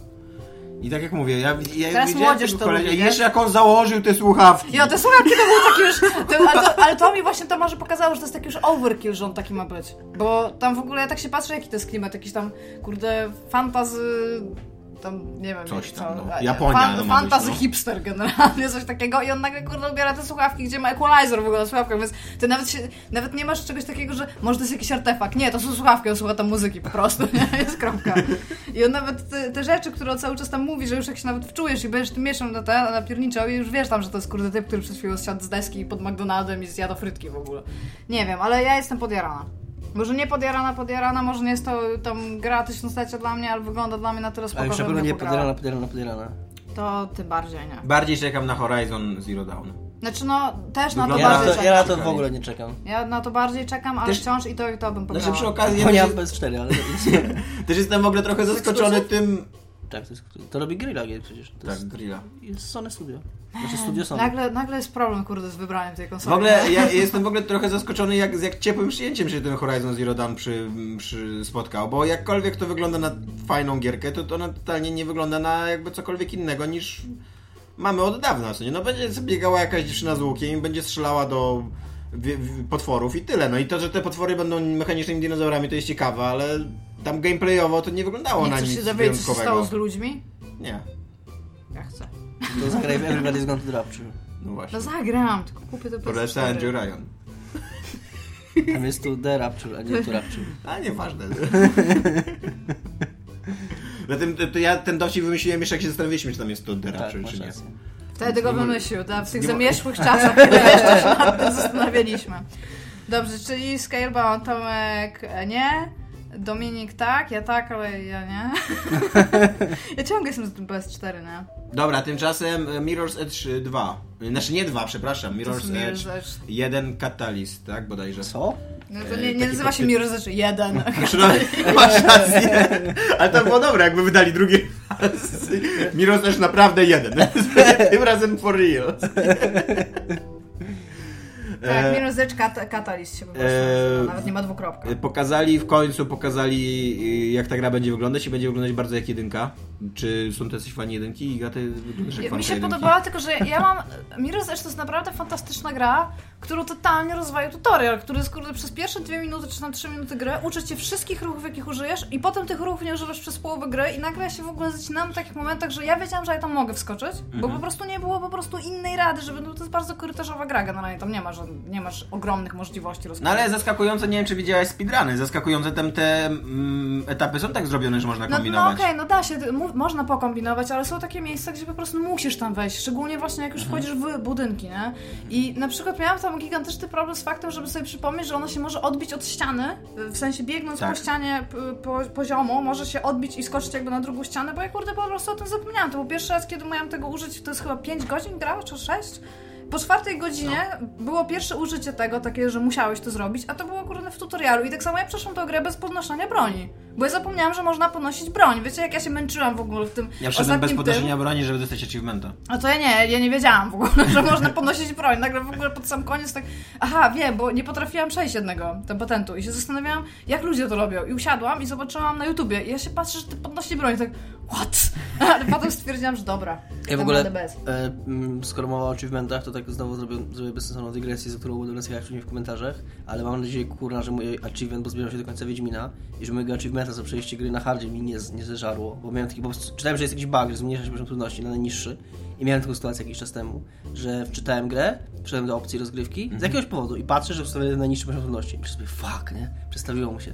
S3: I tak jak mówię, ja, ja
S4: Teraz
S3: widziałem
S4: młodzież
S3: tego
S4: to
S3: kolesia
S4: lubi,
S3: i
S4: nie?
S3: jeszcze jak on założył te słuchawki.
S4: Ja te słuchawki to było takie już. To, ale, to, ale to mi właśnie to może pokazało, że to jest taki już overkill, że on taki ma być. Bo tam w ogóle ja tak się patrzę, jaki to jest klimat, jakiś tam, kurde, fantazy. Tam nie wiem.
S3: Coś tam,
S4: co,
S3: no.
S4: a-
S3: Japonia,
S4: Fan,
S3: no, ma być,
S4: fantazy
S3: no.
S4: hipster generalnie, coś takiego. I on nagle kurde ubiera te słuchawki, gdzie ma equalizer w ogóle na słuchawkach, więc ty nawet, się, nawet nie masz czegoś takiego, że może to jest jakiś artefakt. Nie, to są słuchawki, on słucha tam muzyki po prostu, nie? Jest kropka. I on nawet te, te rzeczy, które on cały czas tam mówi, że już jak się nawet wczujesz i będziesz tym mieszem na te, na pierniczał i już wiesz tam, że to jest kurde typ, który przez chwilę zsiadł z deski pod McDonaldem i zjada frytki w ogóle. Nie wiem, ale ja jestem podjarana. Może nie podjarana, podjarana, może nie jest to tam gra tysiąclecia dla mnie, ale wygląda dla mnie na tyle
S1: Ale
S4: spoko,
S1: już na
S4: że
S1: pewno
S4: bym
S1: nie
S4: nie
S1: podierana,
S4: pograła.
S1: podierana, podierana.
S4: To tym bardziej nie.
S3: Bardziej czekam na Horizon Zero Dawn.
S4: Znaczy no, też na to
S1: Ja
S3: Wygląda-
S1: na
S4: bardziej
S1: to,
S4: czekam.
S1: ja na to w ogóle nie czekam.
S4: Ja na to bardziej czekam, ale
S3: Też-
S4: wciąż i to i to bym
S3: Znaczy
S4: pograła.
S3: przy okazji, ja
S1: Bo nie mam
S3: też-
S1: PS4, ale...
S3: też jestem w ogóle trochę zaskoczony tym...
S1: tak, to, jest, to robi Grilla Games przecież. To
S3: Tak,
S1: jest,
S3: grilla.
S1: jest Sony Studio. Znaczy Studio Sony.
S4: Eee, Nagle, nagle jest problem, kurde, z wybraniem tej
S3: W
S4: konsoli.
S3: ogóle ja jestem w ogóle trochę zaskoczony, jak, z jak ciepłym przyjęciem się ten Horizon Zero Dawn przy, przy spotkał, bo jakkolwiek to wygląda na fajną gierkę, to, to ona totalnie nie wygląda na jakby cokolwiek innego niż mamy od dawna. Co nie? No będzie sobie biegała jakaś dziewczyna z łukiem i będzie strzelała do wie- w- potworów i tyle. No i to, że te potwory będą mechanicznymi dinozaurami to jest ciekawe, ale tam gameplayowo to nie wyglądało
S4: nie
S3: na
S4: chcesz
S3: nic
S4: się dowiedzieć, co się stało
S3: wyjątkowego.
S4: z ludźmi?
S3: Nie,
S4: Ja chcę.
S1: To zagraj w Everybody's Gone to Rapture.
S3: no
S4: No
S3: właśnie.
S4: zagram, tylko kupię to
S3: Polecę Andrew Ryan.
S1: Tam jest tu The Rapture, a nie tu Rapture.
S3: A nieważne. Zatem to, to ja ten dowcip wymyśliłem jeszcze jak się zastanawialiśmy, czy tam jest to dera,
S1: Tak,
S3: czy,
S1: masz
S3: czy nie.
S1: rację.
S4: Wtedy go
S3: Nie mo-
S4: wymyślił, tak? w tych
S3: nie mo-
S4: zamierzchłych czasach, kiedy jeszcze się nad tym zastanawialiśmy. Dobrze, czyli Scalebound, Tomek e, nie, Dominik tak, ja tak, ale ja nie. ja ciągle jestem z tym PS4, nie?
S3: Dobra, tymczasem e, Mirror's Edge 2. Znaczy nie 2, przepraszam,
S4: To jest
S3: Mirror's Edge
S4: Mirror's Edge.
S3: 1 Catalyst, tak bodajże.
S1: Co?
S4: No to
S3: E,
S4: nie, nie
S3: taki
S4: nazywa się
S3: podtytuł.
S4: Mirror's Edge 1.
S3: Znaczy, no, masz rację. Ale to było dobre, jakby wydali drugi raz. Mirror's Edge naprawdę jeden. Tym razem for real.
S4: Tak,
S3: E,
S4: Mirror's Edge kat- Catalyst się po prostu
S3: Eee,
S4: nazywa, nawet nie ma dwukropka.
S3: Y, Pokazali w końcu, pokazali y, jak ta gra będzie wyglądać i będzie wyglądać bardzo jak jedynka. Czy są to jacyś fani jedynki? Ja te wyglądasz jak
S4: Ja-
S3: fanka
S4: Mi się
S3: jedynki.
S4: podobała, tylko że ja mam. Mirror's Edge to jest naprawdę fantastyczna gra, którą totalnie rozwalił tutorial, który jest kurde przez pierwsze dwie minuty czy tam trzy minuty gry uczy cię wszystkich ruchów, jakich użyjesz, i potem tych ruchów nie używasz przez połowę gry, i nagle ja się w ogóle zacinam w takich momentach, że ja wiedziałam, że ja tam mogę wskoczyć, bo
S3: Mhm.
S4: po prostu nie było po prostu innej rady, żeby. No to jest bardzo korytarzowa gra, generalnie tam nie masz, nie masz ogromnych możliwości
S3: No ale zaskakujące, nie wiem czy widziałaś speedruny, zaskakujące tam te mm, etapy są tak zrobione, że można
S4: No, no
S3: kombinować.
S4: okej, no da się, ty- mu- można pokombinować, ale są takie miejsca, gdzie po prostu musisz tam wejść, szczególnie właśnie jak już
S3: Mhm.
S4: wchodzisz w budynki, nie? I na przykład miałam tam gigantyczny problem z faktem, żeby sobie przypomnieć, że ona się może odbić od ściany, w sensie biegnąc
S3: Tak.
S4: po ścianie p- po, poziomu, może się odbić i skoczyć jakby na drugą ścianę, bo ja kurde po prostu o tym zapomniałam. To był pierwszy raz, kiedy miałam tego użyć, to jest chyba 5 godzin grała, czy 6? Po czwartej godzinie
S3: No.
S4: było pierwsze użycie tego, takie, że musiałeś to zrobić, a to było kurde w tutorialu. I tak samo ja przeszłam tę grę bez podnoszenia broni. Bo ja zapomniałam, że można podnosić broń. Wiecie, jak ja się męczyłam w ogóle w tym
S3: Ja wszedłem bez
S4: ostatnim
S3: podnoszenia broni, żeby dostać achievementa.
S4: a to ja nie, ja nie wiedziałam w ogóle, że można podnosić broń. Nagle w ogóle pod sam koniec tak, aha, wiem, bo nie potrafiłam przejść jednego, ten patentu. I się zastanawiałam, jak ludzie to robią. I usiadłam i zobaczyłam na YouTubie. I ja się patrzę, że ty podnosi broń. I tak, what? Ale potem stwierdziłam, że dobra.
S1: Ja w
S4: dam radę
S1: ogóle,
S4: Bez.
S1: e, mm, skoro mowa o achievementach, to tak znowu zrobię, zrobię bezsensowną dygresję, za którą będę nas jechać w komentarzach, ale mam nadzieję, kurna, że mój achievement, bo zbieram się do końca Wiedźmina i że mojego achievementa za przejście gry na hardzie mi nie, nie zeżarło, bo miałem taki, po prostu, czytałem, że jest jakiś bug, że zmniejsza się poziom trudności na najniższy i miałem taką sytuację jakiś czas temu, że wczytałem grę, wszedłem do opcji rozgrywki z jakiegoś powodu i patrzę, że wstawiłem najniższy poziom trudności i myślę sobie, fuck, nie, przestawiło mu się.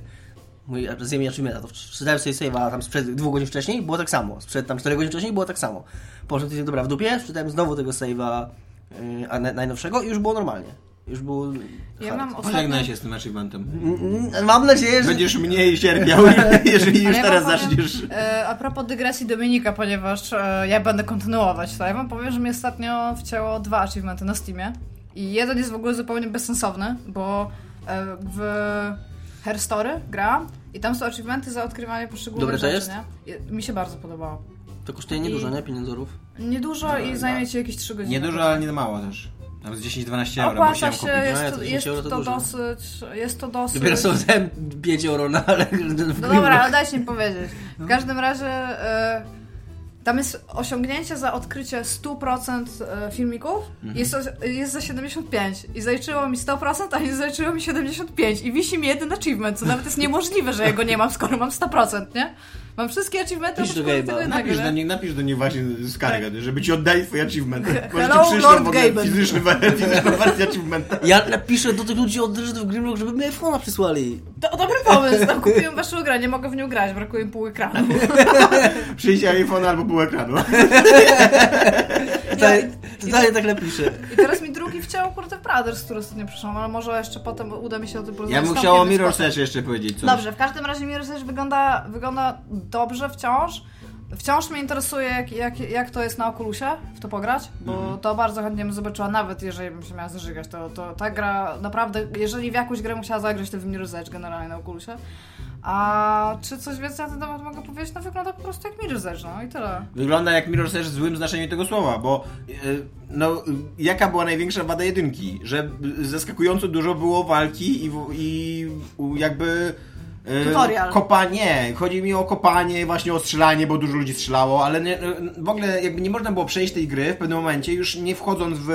S1: Mój zjem Jaczymena, to czytałem sobie save'a tam sprzed dwóch godzin wcześniej, było tak samo. Sprzed tam 4 godzin wcześniej było tak samo. y, Poszedłem tydzień, dobra, w dupie, czytałem znowu tego save'a yy, a na- najnowszego i już było normalnie. Już był
S4: Ja mam
S1: hard.
S4: ostatnio...
S3: Pożegnaj się z tym achievementem.
S1: Mm, mm, Mam nadzieję, że...
S3: Będziesz mniej cierpiał, jeżeli już
S4: Ale
S3: teraz
S4: wam powiem,
S3: zaczniesz.
S4: e, A propos dygresji Dominika, ponieważ e, ja będę kontynuować to, ja wam powiem, że mnie ostatnio wcięło dwa achievementy na Steamie. I jeden jest w ogóle zupełnie bezsensowny, bo e, w Herstory gra i tam są achievementy za odkrywanie poszczególnych
S1: Dobre to
S4: rzeczy,
S1: jest?
S4: nie? I- Mi się bardzo podobało.
S1: To kosztuje niedużo,
S4: I-
S1: nie? Pieniądzorów.
S4: Niedużo i zajmie ci jakieś 3 godziny.
S3: Niedużo, ale nie mało też. Tam z 10-12 euro
S4: Opłaca
S3: musiałem
S4: się,
S3: kupić.
S1: No ja
S4: jest,
S1: to
S4: to,
S1: 10
S4: jest,
S1: euro to
S4: to
S1: dużo.
S4: dosyć, jest to dosyć...
S1: Dopiero są ten 5 euro na ale...
S4: No dobra, ale dajcie mi powiedzieć.
S3: No.
S4: W każdym razie e, tam jest osiągnięcie za odkrycie 100% e, filmików
S3: Mhm.
S4: jest, o- jest za 75 i zaliczyło mi 100%, a nie zaliczyło mi 75 i wisi mi jeden achievement, co nawet jest niemożliwe, że ja go nie mam, skoro mam 100%, nie? Mam wszystkie achievementy,
S1: Pisz do
S4: oprócz
S1: Gabe'a.
S4: tego jednego,
S3: Napisz do,
S4: nie?
S3: nie, napisz do niej właśnie skargę, żeby ci oddali twój achievement. Może
S4: Tak. hello,
S3: ci przyszło
S4: Lord
S3: w ogóle
S4: Gaben.
S3: fizyczny, fizyczną wersję achievementa.
S1: Ja napiszę do tych ludzi od Reżydów Grimlock, żeby mi iPhone'a przysłali.
S4: To dobry pomysł, tam kupiłem waszą grę, nie mogę w nią grać, brakuje mi pół ekranu.
S3: Przyjść iPhone albo pół ekranu.
S1: Tutaj, tutaj tak napiszę.
S4: I teraz mi drugi wciął kurde Brothers, który ostatnio przyszłam, ale może jeszcze potem uda mi się o tym porozmawiać.
S3: Ja bym
S4: Tam
S3: chciał o
S4: kiedyś
S3: Mirror
S4: potem.
S3: Session jeszcze powiedzieć coś.
S4: Dobrze, w każdym razie Mirror Sage wygląda, wygląda dobrze wciąż. Wciąż mnie interesuje, jak, jak, jak to jest na Oculusie, w to pograć, bo
S3: Mhm.
S4: to bardzo chętnie bym zobaczyła, nawet jeżeli bym się miała zażygać, to, to ta gra naprawdę, jeżeli w jakąś grę musiała zagrać, to w Mirror Edge generalnie na Oculusie. A czy coś więcej na ten temat mogę powiedzieć? No wygląda po prostu jak Mirror Edge, no i tyle.
S3: Wygląda jak Mirror Session w złym znaczeniu tego słowa, bo e, no, e, jaka była największa wada jedynki? Że e, zaskakująco dużo było walki i, w- i u- jakby... e,
S4: Tutorial.
S3: Kopanie. Chodzi mi o kopanie, właśnie o strzelanie, bo dużo ludzi strzelało, ale nie, e, w ogóle jakby nie można było przejść tej gry w pewnym momencie, już nie wchodząc w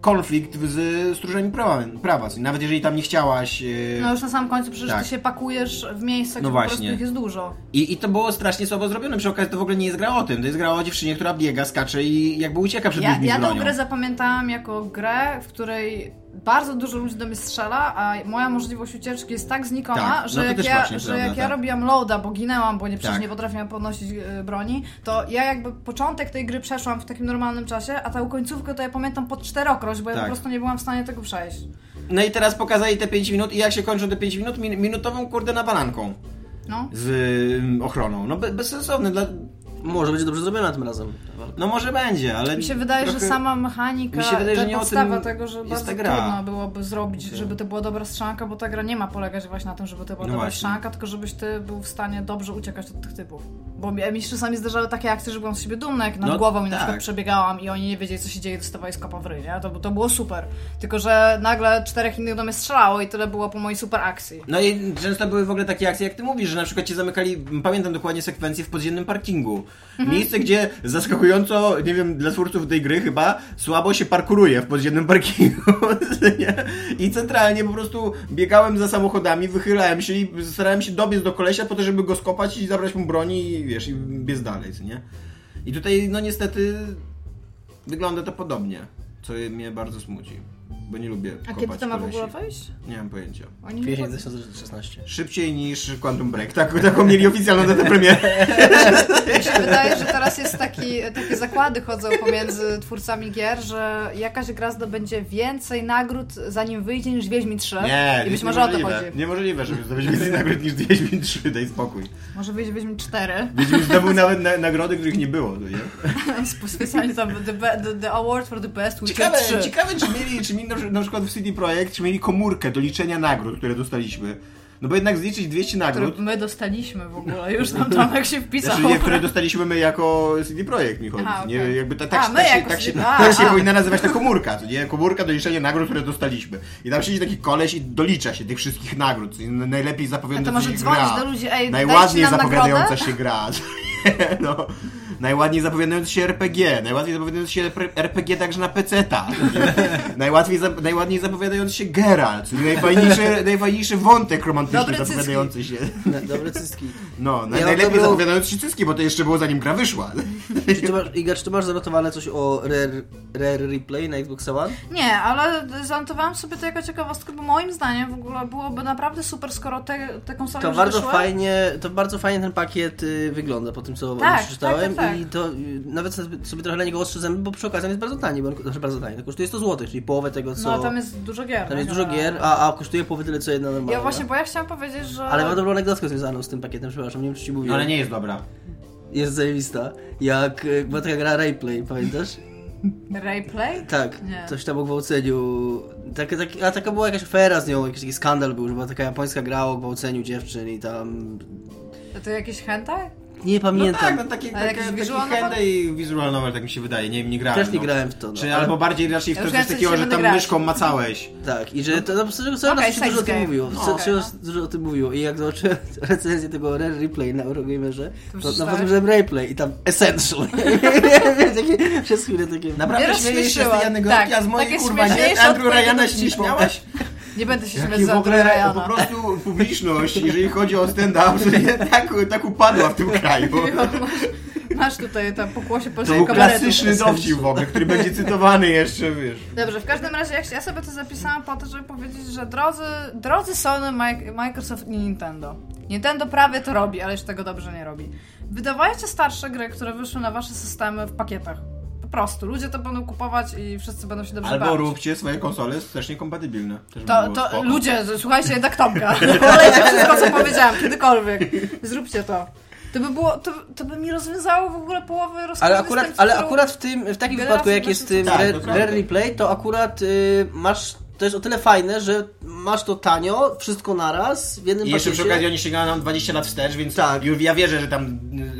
S3: konflikt z stróżami prawa. prawa. Nawet jeżeli tam nie chciałaś... e,
S4: No już na samym końcu przecież
S3: Tak.
S4: ty się pakujesz w miejsca,
S3: No
S4: gdzie po prostu
S3: właśnie.
S4: ich jest dużo.
S3: I, I to było strasznie słabo zrobione. Przy okazji to w ogóle nie jest gra o tym. To jest gra o dziewczynie, która biega, skacze i jakby ucieka przed
S4: Ja,
S3: ludźmi
S4: ja
S3: z
S4: tę
S3: bronią.
S4: grę zapamiętałam jako grę, w której bardzo dużo ludzi do mnie strzela, a moja możliwość ucieczki jest tak znikoma,
S3: Tak, no
S4: że
S3: to
S4: jak,
S3: też
S4: ja,
S3: właśnie
S4: że
S3: prawda,
S4: jak ja
S3: tak.
S4: robiłam loada, bo ginęłam, bo nie, przecież
S3: Tak.
S4: nie potrafiłam podnosić e, broni, to ja jakby początek tej gry przeszłam w takim normalnym czasie, a tą końcówkę to ja pamiętam pod czterokroć, bo ja po
S3: Tak.
S4: prostu nie byłam w stanie tego przejść.
S3: No i teraz pokazali te 5 minut i jak się kończą te 5 minut? Min- minutową kurde nawalanką
S4: No.
S3: z ym, ochroną. No be, bezsensowne. Dla...
S1: Może będzie dobrze zrobione tym razem.
S3: No może będzie, ale...
S4: Mi się wydaje,
S3: trochę-
S4: że sama mechanika,
S3: Mi się wydaje,
S4: ta
S3: że nie o
S4: podstawa
S3: tym
S4: tego, że
S3: jest
S4: bardzo
S3: ta gra.
S4: trudno byłoby zrobić, żeby to była dobra strzelanka, bo ta gra nie ma polegać właśnie na tym, żeby to była
S3: No
S4: dobra
S3: właśnie.
S4: strzelanka, tylko żebyś ty był w stanie dobrze uciekać od tych typów. Bo mi mi się czasami zdarzały takie akcje, że byłam z siebie dumna, jak nad
S3: No
S4: głową mi na
S3: tak.
S4: przykład przebiegałam i oni nie wiedzieli, co się dzieje, dostawali skopa w ryj, nie? To, to było super. Tylko, że nagle czterech innych do mnie strzelało i tyle było po mojej super akcji.
S3: No i często były w ogóle takie akcje, jak ty mówisz, że na przykład cię zamykali, pamiętam dokładnie sekwencję w podziemnym parkingu.
S4: Mhm.
S3: Miejsce, gdzie zaskakująco, nie wiem, dla twórców tej gry chyba, słabo się parkuruje w podziemnym parkingu. nie? I centralnie po prostu biegałem za samochodami, wychylałem się i starałem się dobiec do kolesia po to, żeby go skopać i zabrać mu broni i wiesz, i biec dalej, co nie? I tutaj, no niestety, wygląda to podobnie, co mnie bardzo smuci. Bo nie lubię
S4: A
S3: kopać
S4: kiedy to ma w
S3: kolesi.
S4: ogóle wejść?
S3: Nie mam pojęcia.
S4: Oni nie
S1: Kwiecień
S4: pod-
S1: 2016.
S3: Szybciej niż Quantum Break. Tak, taką mieli oficjalną datę premiery.
S4: Mi się wydaje, że teraz jest taki, takie zakłady chodzą pomiędzy twórcami gier, że jakaś gra zdobędzie więcej nagród zanim wyjdzie niż Wiedźmin 3. I być może o to chodzi.
S3: Niemożliwe, żeby zdobyć więcej nagród niż Wiedźmin 3, daj spokój.
S4: Może wyjdzie Wiedźmin 4.
S3: Wiedźmin zdobył nawet na, nagrody, których nie było. no Nie?
S4: Specjalnie tam the, be- the, the award for the best Witcher
S3: Ciekawe,
S4: 3.
S3: ciekawe, czy mieli, czy mieli na, na przykład w CD Projekt, czy mieli komórkę do liczenia nagród, które dostaliśmy. No bo jednak zliczyć 200
S4: Który
S3: nagród,
S4: my dostaliśmy w ogóle, już tam Tomek się wpisał.
S3: znaczy nie, które dostaliśmy my jako CD Projekt, mi chodzi.
S4: Aha,
S3: nie,
S4: okej.
S3: jakby ta, tak,
S4: A,
S3: się-
S4: my
S3: tak, się,
S4: jako
S3: tak, się,
S4: CD a,
S3: tak się
S4: a.
S3: powinna nazywać ta komórka, co nie? Komórka do liczenia nagród, które dostaliśmy. I tam siedzi taki koleś i dolicza się tych wszystkich nagród, co najlepiej
S4: A to
S3: zapowiadająca
S4: może
S3: się
S4: dzwonić
S3: gra.
S4: do ludzi, ej,
S3: Najładniej
S4: dajcie nam
S3: zapowiadająca
S4: nagrodę?
S3: się gra. no. Najładniej zapowiadający się RPG, najładniej zapowiadający się repre- RPG także na PC-ta. najłatwiej za, najładniej zapowiadający się Geralt, czyli najfajniejszy, najfajniejszy wątek romantyczny
S4: Dobre cycki.
S3: zapowiadający się.
S1: Na- Dobre cyski.
S3: No,
S1: Ja
S3: naj- najlepiej
S1: odebrał-
S3: zapowiadający się cycki, bo to jeszcze było zanim gra wyszła.
S1: Czy ty masz, Iga, czy ty masz zanotowane coś o Rare, rare Replay na Xbox One?
S4: Nie, ale zanotowałam sobie to jako ciekawostkę, bo moim zdaniem w ogóle byłoby naprawdę super, skoro te, te konsole
S1: To
S4: już
S1: bardzo
S4: wyszły.
S1: fajnie, to bardzo fajnie ten pakiet y, wygląda po tym co
S4: Tak,
S1: przeczytałem
S4: tak, tak,
S1: I to y, nawet sobie, sobie trochę na niego ostrzydzamy, bo przy okazji on jest bardzo tani, bo on, znaczy bardzo tani, to kosztuje 100 zł, czyli połowę tego, co...
S4: No, tam jest dużo gier.
S1: tam
S4: no,
S1: jest dużo
S4: chyba.
S1: gier, a, a kosztuje połowę tyle, co jedna normalna.
S4: Ja właśnie, bo ja chciałam powiedzieć, że...
S1: Ale mam dobrą anegdotkę związaną z tym pakietem, przepraszam, nie wiem czy ci
S5: No
S1: mówiłem.
S5: ale nie jest dobra.
S1: Jest zajebista. Jak y, była taka gra Rayplay, pamiętasz?
S4: Rayplay?
S1: Tak,
S4: Nie.
S1: coś tam o gwałceniu. Tak, tak, a taka była jakaś afera z nią, jakiś taki skandal był, że była taka japońska gra o gwałceniu dziewczyn i tam...
S4: To jakiś hentai?
S1: Nie
S5: No
S1: pamiętam.
S5: tak, no taki,
S4: Ale
S5: taki,
S4: jakiś
S5: taki
S4: visual
S5: handy i visual novel, tak mi się wydaje, nie wiem, nie grałem.
S1: Też nie
S5: no.
S1: grałem w to, no.
S5: Czy albo bardziej raczej w
S4: Ja
S5: to
S4: już
S5: coś
S4: wiem,
S5: takiego,
S4: co
S5: że
S4: się
S5: tam
S4: będę
S5: myszką
S4: grać.
S5: macałeś.
S1: Tak, i że to no, po prostu cały
S4: Okej,
S1: czas się dużo o tym
S4: side
S1: mówiło.
S4: game.
S1: Co,
S4: Okej,
S1: się
S4: no.
S1: dużo o tym mówiło. I jak zobaczyłem recenzję tego Rare Replay na Eurogamerze,
S4: już
S1: to na
S4: czytałeś?
S1: potem że Replay i tam Essential. Wiesz, takie- Przez chwilę takie...
S5: Naprawdę
S4: Ja
S5: śmiejesz się z
S4: rozśmieszyłam.
S5: tej anegdotki,
S4: Tak,
S5: a z mojej
S4: takie
S5: kurwa nie,
S4: śmieszniejsze
S5: Andrew
S4: odpowiedzi
S5: Ryana
S4: do
S5: się nie
S4: dziś mam.
S5: śmiałeś?
S4: Nie będę się śmiać
S5: Jaki w
S4: za
S5: ogóle po
S4: Rayana.
S5: prostu publiczność, jeżeli chodzi o stand-up, to tak, tak upadła w tym kraju.
S4: Masz tutaj tam pokłosie
S5: To
S4: polskiego
S5: był
S4: kabaretu.
S5: klasyczny dowcip w ogóle, który będzie cytowany jeszcze, wiesz.
S4: Dobrze, w każdym razie ja, ja sobie to zapisałam po to, żeby powiedzieć, że drodzy, drodzy Sony, Mi- Microsoft i Nintendo. Nintendo prawie to robi, ale już tego dobrze nie robi. Wydawajcie starsze gry, które wyszły na wasze systemy w pakietach. Po prostu. Ludzie to będą kupować i wszyscy będą się dobrze
S5: Albo
S4: bawić.
S5: róbcie swoje konsole strasznie kompatybilne. Też by
S4: To,
S5: było
S4: to
S5: No, spoko.
S4: ludzie, słuchajcie, jednak Tomka. Polejcie wszystko, co powiedziałam, kiedykolwiek. Zróbcie to. To by było, to, to by mi rozwiązało w ogóle połowę rozkładu
S1: Ale akurat,
S4: z tym,
S1: ale
S4: którą-
S1: akurat w tym, w takim
S4: Wiele
S1: wypadku
S4: razy
S1: jak jest
S4: właśnie
S1: tym
S5: to- Tak,
S1: Rare,
S5: to prawda.
S1: Rare Replay, to akurat y, masz, to jest o tyle fajne, że masz to tanio, wszystko naraz, w jednym
S5: I jeszcze przy
S1: pakiecie.
S5: okazji oni sięgają nam 20 lat wstecz, więc
S1: Tak.
S5: ju- ja wierzę, że tam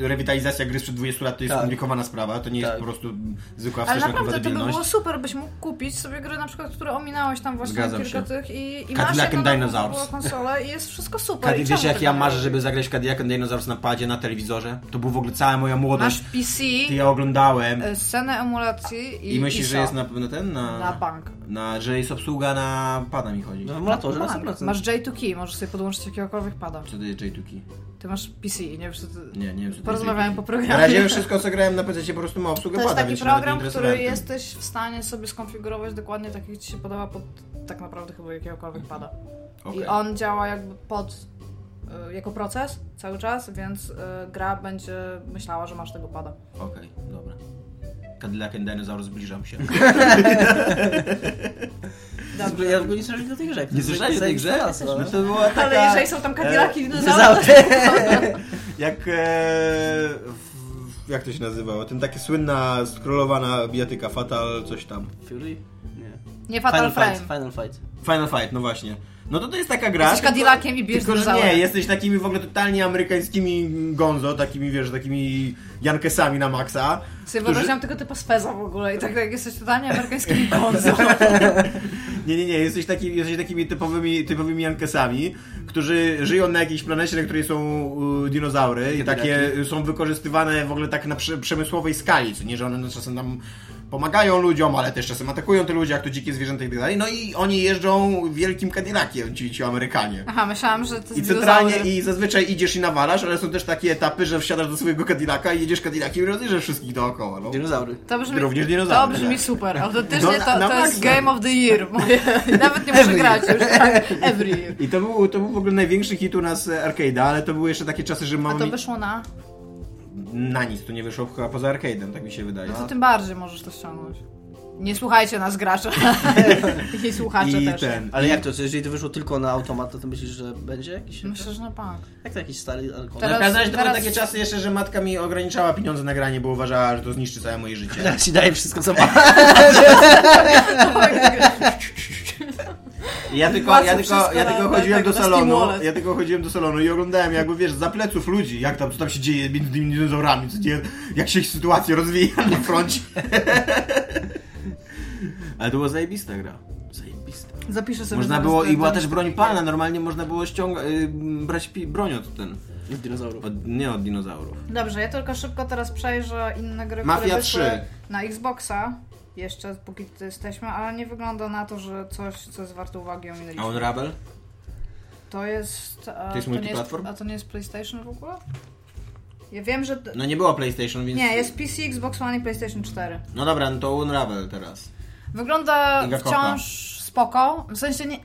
S5: y, rewitalizacja gry sprzed 20 lat to jest
S1: Tak.
S5: skomplikowana sprawa, to nie jest
S1: Tak.
S5: po prostu zwykła
S4: Ale
S5: wsteczna
S4: naprawdę to by
S5: kompatybilność.
S4: było super, byś mógł kupić sobie gry na przykład, które ominąłeś tam właśnie
S5: Zgadzam
S4: kilka
S5: się.
S4: tych i, i masz
S5: Cadillac
S4: jedną
S5: and Dinosaurs.
S4: nową konsolę i jest wszystko super.
S5: Kadi,
S4: I
S5: wiesz
S4: czemu tak
S5: jak
S4: tego
S5: ja
S4: nie
S5: marzę,
S4: robisz?
S5: żeby zagrać Cadillac and Dinosaurs na padzie, na telewizorze? To był w ogóle cała moja
S4: Masz
S5: młodość.
S4: PC,
S5: Ty ja oglądałem
S4: y, scenę emulacji i
S5: i myślisz,
S4: ISO.
S5: że jest na, na ten, na,
S4: Na bank.
S5: na... że jest obsługa na pada mi chodzi.
S1: No, w emulatorze na
S4: Bank.
S1: 100%.
S4: Masz J2Key, możesz sobie podłączyć jakiegokolwiek pada.
S5: Co to jest J2K?
S4: Ty masz PC, nie wiem, czy ty...
S5: Nie, nie wiem, co to jest
S4: Porozmawiałem
S5: J2K.
S4: po programie.
S5: Na razie wszystko co grałem na PC po prostu ma obsługę
S4: To jest
S5: pada,
S4: taki
S5: więc się nawet nie
S4: program,
S5: interesowałem
S4: który
S5: tym.
S4: jesteś w stanie sobie skonfigurować dokładnie tak, jak ci się podoba pod tak naprawdę chyba jakiegokolwiek pada. I
S5: Okej.
S4: on działa jakby pod, y, jako proces cały czas, więc y, gra będzie myślała, że masz tego pada.
S5: Okej, dobra. Cadillac and Dinosaur zbliżam się.
S1: Dobrze, Ja w ogóle nie słyszałem do tej grze.
S5: Nie słyszałeś o tej grze? No
S1: Znaczy,
S5: to była taka...
S4: Ale jeżeli są tam no kadilaki,
S5: e,
S4: dinozaury,
S5: Jak... E, w- jak to się nazywało? Ten takie słynna, scrollowana bijatyka Fatal, coś tam.
S1: Fury? Nie.
S4: nie Fatal
S1: Final
S4: Frame.
S1: Fight, Final Fight.
S5: Final Fight, no właśnie. No to to jest taka gra...
S4: Jesteś
S5: tylko-
S4: Cadillaciem i bierz
S5: Tylko, że nie,
S4: dinozaury.
S5: jesteś takimi w ogóle totalnie amerykańskimi gonzo, takimi, wiesz, takimi Jankesami na maksa.
S4: Sobie
S5: którzy-
S4: wyobraziłam tylko typa z Feza w ogóle i tak jak jesteś totalnie amerykańskim konzo.
S5: Nie, nie, nie, jesteś, taki, jesteś takimi typowymi, typowymi Jankesami, którzy żyją na jakiejś planecie, na której są y, dinozaury i takie y, są wykorzystywane w ogóle tak na prze, przemysłowej skali, co nie, że one czasem tam pomagają ludziom, ale też czasem atakują te ludzie, jak to dzikie zwierzęta i tak dalej. No i oni jeżdżą wielkim Cadillaciem, ci, ci Amerykanie.
S4: Aha, myślałam, że to
S5: I
S4: jest
S5: centralnie,
S4: dinozaury.
S5: i zazwyczaj idziesz i nawalasz, ale są też takie etapy, że wsiadasz do swojego Cadillac'a i jedziesz Cadillaciem i rozjeżdżasz wszystkich dookoła, no.
S1: Dinozaury.
S4: To brzmi,
S5: Również
S4: to
S5: dinozaury.
S4: brzmi
S5: tak.
S4: super.
S5: No,
S4: Autentycznie
S5: na-
S4: to,
S5: na
S4: to jest
S5: maksa.
S4: Game of the Year. Moje. Nawet nie muszę
S1: Every
S4: grać już. tak. Every year.
S5: I to był, to był w ogóle największy hit u nas e, arcade'a, ale to były jeszcze takie czasy, że
S4: A
S5: mamy...
S4: to wyszło na...
S5: Na nic, to nie wyszło chyba poza arcade'em, tak mi się wydaje.
S4: No to tym bardziej możesz to ściągnąć. Nie słuchajcie nas gracze. I słuchacze
S5: I
S4: też.
S5: ten.
S1: Ale jak to? co, Jeżeli to wyszło tylko na automat, to, to myślisz, że będzie jakiś...
S4: Myślę, Tak. że no na bank.
S1: Jak to jakiś stary alkohol?
S4: Teraz-
S5: W każdym razie znaczy, to były
S4: teraz-
S5: takie czasy jeszcze, że matka mi ograniczała pieniądze na granie, bo uważała, że to zniszczy całe moje życie.
S1: Teraz ci daję wszystko, co ma.
S5: Ja tylko,
S4: Płacę
S5: ja tylko,
S4: wszystko
S5: ja
S4: na-
S5: tylko
S4: na
S5: chodziłem
S4: tego,
S5: do
S4: na
S5: salonu,
S4: Steam Wallet.
S5: ja tylko chodziłem do salonu i oglądałem jakby, wiesz, za pleców ludzi, jak tam, co tam się dzieje między tymi dinozaurami, co dzieje, jak się ich sytuacja rozwija na froncie. Ale to była zajebista gra. Zajebista.
S4: Zapiszę sobie.
S5: Można
S4: zaraz
S5: było,
S4: ten-
S5: i była
S4: ten-
S5: też broń palna, normalnie można było ściągać, brać pi- broń od ten,
S1: Dinozaurów.
S5: od, nie od dinozaurów.
S4: Dobrze, ja tylko szybko teraz przejrzę inne gry,
S5: Mafia
S4: które wyszły
S5: 3.
S4: na Xboxa. Jeszcze póki tu jesteśmy, ale nie wygląda na to, że coś, co jest warte uwagi
S5: A
S4: ominęliśmy.
S5: Unravel?
S4: To jest... A,
S5: jest
S4: nie
S5: multiplatform?
S4: A to nie jest PlayStation w ogóle? Ja wiem, że...
S5: No nie było PlayStation, więc...
S4: Nie, jest PC, Xbox One i PlayStation 4.
S5: No dobra, no to Unravel teraz.
S4: Wygląda
S5: Iga Kocha.
S4: wciąż spoko. W sensie nie.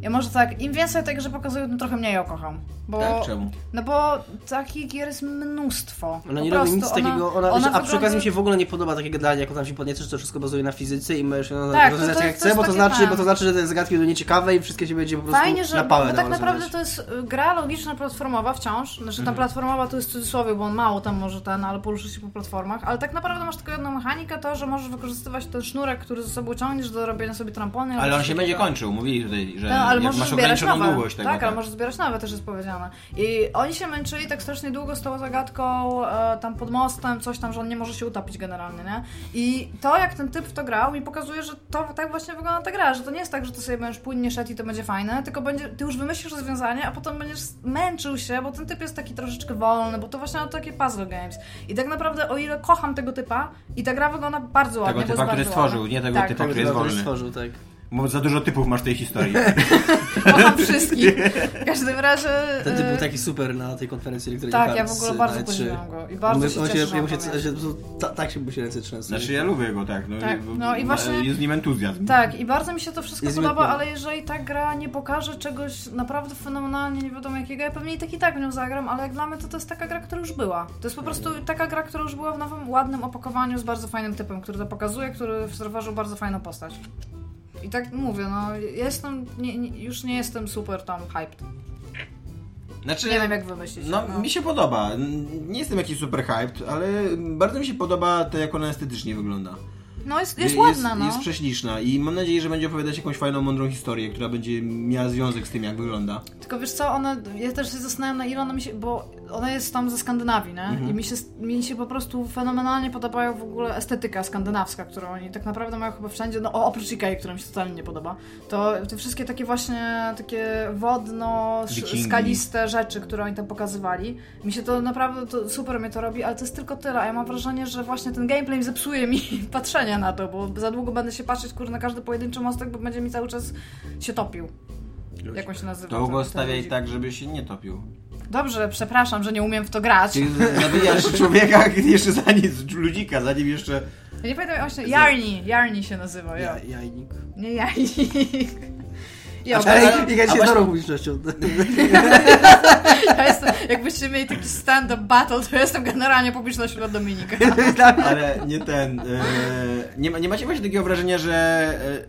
S4: Ja może tak, im więcej tego, że pokazują, tym trochę mniej ją kocham. Bo,
S3: Tak, czemu?
S4: No bo takich gier jest mnóstwo.
S1: Ona
S4: Po
S1: nie robi
S4: prostu
S1: nic takiego, ona, a przy
S4: wygląda-
S1: okazji mi się w ogóle nie podoba takie gadanie, jak on tam się podnieca, że to wszystko bazuje na fizyce i możesz ją
S4: Tak, to-
S1: rozwiązać
S4: to-
S1: jak
S4: to
S1: chce,
S4: jest
S1: bo to,
S4: takie
S1: znaczy,
S4: tak.
S1: bo to znaczy, że te zagadki będą nieciekawe i wszystkie się będzie po prostu
S4: Fajnie, że
S1: na pałę
S4: bo tak
S1: dało
S4: naprawdę
S1: rozwiązać.
S4: to jest y, gra logiczna, platformowa wciąż. Znaczy
S3: Mhm.
S4: ta platformowa to jest w cudzysłowie, bo on mało tam może ten, ale poruszyć się po platformach. Ale tak naprawdę masz tylko jedną mechanikę, to, że możesz wykorzystywać ten sznurek, który ze sobą ciągniesz do robienia sobie trampony. albo
S3: Ale on
S4: coś
S3: się będzie
S4: takiego.
S3: kończył, mówili tutaj, że
S4: No, ale
S3: jak
S4: możesz
S3: masz
S4: zbierać
S3: ograniczoną
S4: nowe.
S3: długość tego.
S4: tak, ale możesz zbierać nowe, też jest powiedziane. I oni się męczyli tak strasznie długo z tą zagadką, e, tam pod mostem, coś tam, że on nie może się utapić generalnie, nie? I to, jak ten typ w to grał, mi pokazuje, że to tak właśnie wygląda ta gra, że to nie jest tak, że ty sobie będziesz płynnie szedł i to będzie fajne, tylko będzie, ty już wymyślisz rozwiązanie, a potem będziesz męczył się, bo ten typ jest taki troszeczkę wolny, bo to właśnie na takie puzzle games. I tak naprawdę, o ile kocham tego typa, i ta gra wygląda bardzo ładnie,
S3: Tego
S4: bo
S3: typa,
S4: jest
S3: który
S4: bardzo
S3: stworzył,
S4: ładna.
S3: nie tego
S4: tak,
S3: typa,
S4: tak,
S1: Tak,
S3: który jest
S1: który
S3: wolny.
S1: stworzył, tak.
S3: Bo za dużo typów masz w tej historii.
S4: Kocham wszystkich. W każdym razie...
S1: Ten typ
S4: e,
S1: był taki super na tej konferencji elektronicznej.
S4: Tak, ja w ogóle
S1: E
S4: bardzo podziwiam go i bardzo się cieszę, że
S1: ja
S4: on
S1: mu się,
S4: to miał.
S1: że po prostu ta- Tak się mu się ręce trzęsą.
S3: Znaczy ja lubię go, tak. No,
S4: Tak,
S3: i-
S4: no i
S3: ma-
S4: właśnie-
S3: Jest z nim entuzjazm.
S4: Tak, i bardzo mi się to wszystko
S1: Jest
S4: podoba,
S1: zbyt
S4: ale jeżeli ta gra nie pokaże czegoś naprawdę fenomenalnie, nie wiadomo jakiego, ja pewnie i tak i tak w nią zagram, ale jak dla mnie to to jest taka gra, która już była. To jest po prostu
S3: Mm.
S4: taka gra, która już była w nowym, ładnym opakowaniu z bardzo fajnym typem, który to pokazuje, który zauważył bardzo fajną postać. I tak mówię, no ja jestem, nie, nie, już nie jestem super tam hyped.
S3: Znaczy,
S4: Nie wiem jak wymyślić.
S3: No, mi się podoba. N- Nie jestem jakiś super hyped, ale bardzo mi się podoba to, jak ona estetycznie wygląda.
S4: no jest, jest ładna,
S3: jest,
S4: no.
S3: Jest prześliczna i mam nadzieję, że będzie opowiadać jakąś fajną, mądrą historię, która będzie miała związek z tym, jak wygląda.
S4: Tylko wiesz co, ona, ja też się zastanawiam na ile ona mi się, bo ona jest tam ze Skandynawii, nie? I mi się, mi się po prostu fenomenalnie podobają w ogóle estetyka skandynawska, którą oni tak naprawdę mają chyba wszędzie, no o- oprócz Ikei, która mi się totalnie nie podoba, to te wszystkie takie właśnie, takie wodno, sz-
S3: Wikingi.
S4: skaliste rzeczy, które oni tam pokazywali, mi się to naprawdę, to super mnie to robi, ale to jest tylko tyle, a ja mam wrażenie, że właśnie ten gameplay zepsuje mi patrzenie na to, bo za długo będę się patrzeć, kurde, na każdy pojedynczy mostek, bo będzie mi cały czas się topił. Jak on się nazywa?
S3: To
S4: ten-
S3: go
S4: ten
S3: stawiaj
S4: ludzik?
S3: tak, żeby się nie topił.
S4: Dobrze, przepraszam, że nie umiem w to grać.
S3: Czyli zabijasz człowieka jeszcze zanim, ludzika, zanim jeszcze...
S4: Ja nie pamiętam, jak on się... Jarni, Jarni się nazywa, ja.
S1: Ja, jajnik.
S4: Nie Jarni. Ja,
S1: Ale
S4: ja,
S1: ja się
S3: właśnie-
S1: dorą publicznością.
S4: jestem, jakbyście mieli taki stand-up battle, to ja jestem generalnie publicznością dla Dominika.
S3: Ale nie ten. E, nie, ma- nie macie właśnie takiego wrażenia, że.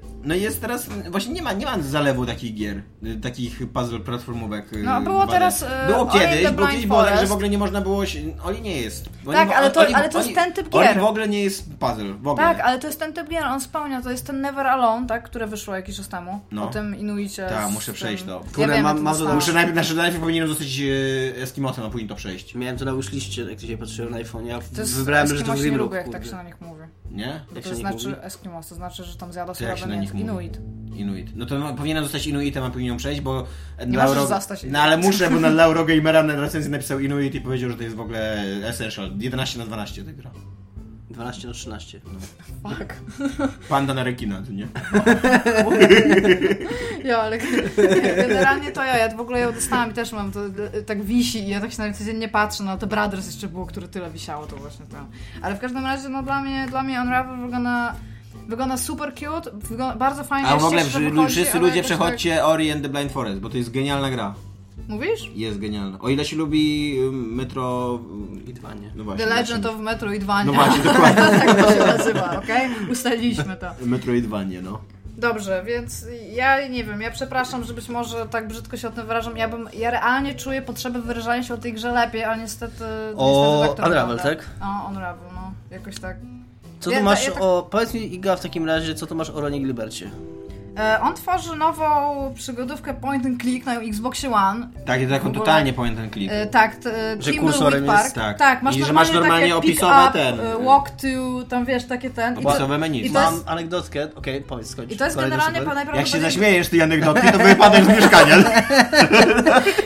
S3: E, no jest teraz. Właśnie nie ma, nie ma zalewu takich gier, e, takich puzzle platformówek. e,
S4: No, było
S3: 2D.
S4: teraz, e,
S3: Było
S4: Ori and
S3: kiedyś,
S4: the
S3: było
S4: Blind
S3: kiedyś było tak, że
S4: Forest.
S3: w ogóle nie można było. Się, Oli nie jest. Oni-
S4: Tak, ale to-
S3: oni-
S4: ale to jest
S3: oni-
S4: ten typ
S3: Oli
S4: gier.
S3: w ogóle nie jest puzzle, w ogóle.
S4: Tak, ale to jest ten typ gier, on spełnia, to jest ten Never Alone, tak, które wyszło jakiś czas temu.
S3: No.
S4: O tym Inuicie.
S3: Tak,
S4: z
S3: muszę
S4: tym-
S3: przejść to.
S4: Ja
S1: Które
S4: wiem,
S1: mam-
S4: ja to
S1: mam-
S4: dostałam.
S3: Muszę najpierw, znaczy najpierw powinienem zostać e, Eskimosem, a później to przejść.
S1: Miałem to na wishliście, jak się patrzyłem na iPhone. Ja
S4: To jest
S1: wybrałem, że to
S4: Eskimosi
S1: w
S4: nie
S1: tym roku.
S4: lubię, jak tak
S1: kurde.
S4: się na nich mówi.
S3: Nie?
S4: Bo
S1: Jak
S4: to
S1: się na nich
S4: znaczy
S1: mówi?
S4: Eskimos, to znaczy, że tam zjada
S3: jak
S4: słowa
S3: się na nich mówi?
S4: Inuit.
S3: Inuit. No to no, powinienem zostać Inuitem, a powinienem przejść, bo... e, dla
S4: możesz
S3: Euro-
S4: zostać Inuit.
S3: No ale muszę, bo na Lauro Gamera na recenzji napisał Inuit i powiedział, że to jest w ogóle essential. 11 na 12 ta gra.
S1: 12 na 13. No.
S4: Fuck.
S3: Panda na rekina, to nie?
S4: Ja, ale generalnie to ja, ja w ogóle ją dostałam i też mam, to e, tak wisi i ja tak się nawet codziennie patrzę, no to Brothers jeszcze było, które tyle wisiało, to właśnie to. Ale w każdym razie, no dla mnie, dla mnie Unravel wygląda, wygląda super cute, wygląda bardzo fajnie,
S3: A w ogóle
S4: ścieżka
S3: przy-
S4: wychodzi,
S3: wszyscy
S4: ale tak-
S3: ludzie
S4: jakoś
S3: przechodźcie Ori and the Blind Forest, bo to jest genialna gra.
S4: Tak... Mówisz?
S3: Jest genialna. O ile się lubi y, Metro...
S1: I dwa nie.
S3: No właśnie.
S4: The Legend of Metroidvania.
S3: No właśnie, dokładnie.
S4: tak to się nazywa, okej? Ustaliliśmy to.
S3: Metroidvania, no.
S4: Dobrze, więc ja nie wiem, ja przepraszam, że być może tak brzydko się o tym wyrażam. Ja bym, ja realnie czuję potrzebę wyrażania się o tej grze lepiej, ale niestety.
S1: O,
S4: niestety to
S1: Unravel,
S4: wygląda.
S1: tak?
S4: O, Unravel, no. Jakoś tak.
S1: Co
S4: Ja-
S1: tu masz
S4: ja tak-
S1: o... Powiedz mi, Iga, w takim razie, co tu masz o Ronnie Gilbercie?
S4: E, on tworzy nową przygodówkę Point and Click na Xboxie One.
S3: Tak, ja taką
S4: ogóle-
S3: totalnie pamiętam ten klip.
S4: E, tak, t, e,
S1: Że
S4: Kimball
S1: kursorem
S4: Park.
S1: jest,
S3: tak.
S4: tak, masz
S3: I że
S4: normalnie,
S3: masz normalnie
S4: takie pick
S3: opisowe
S4: up,
S3: ten,
S4: e,
S3: e,
S4: Walk to, tam wiesz, takie ten. I to,
S3: Opisowe menu.
S4: I to
S1: Mam
S4: jest,
S1: anegdotkę. Okej, powiedz, skończ.
S4: i to jest
S1: Kolejny
S4: generalnie
S1: super.
S4: najprawdopodobniej...
S3: Jak się zaśmiejesz tej anegdotki, to wypadasz z mieszkania.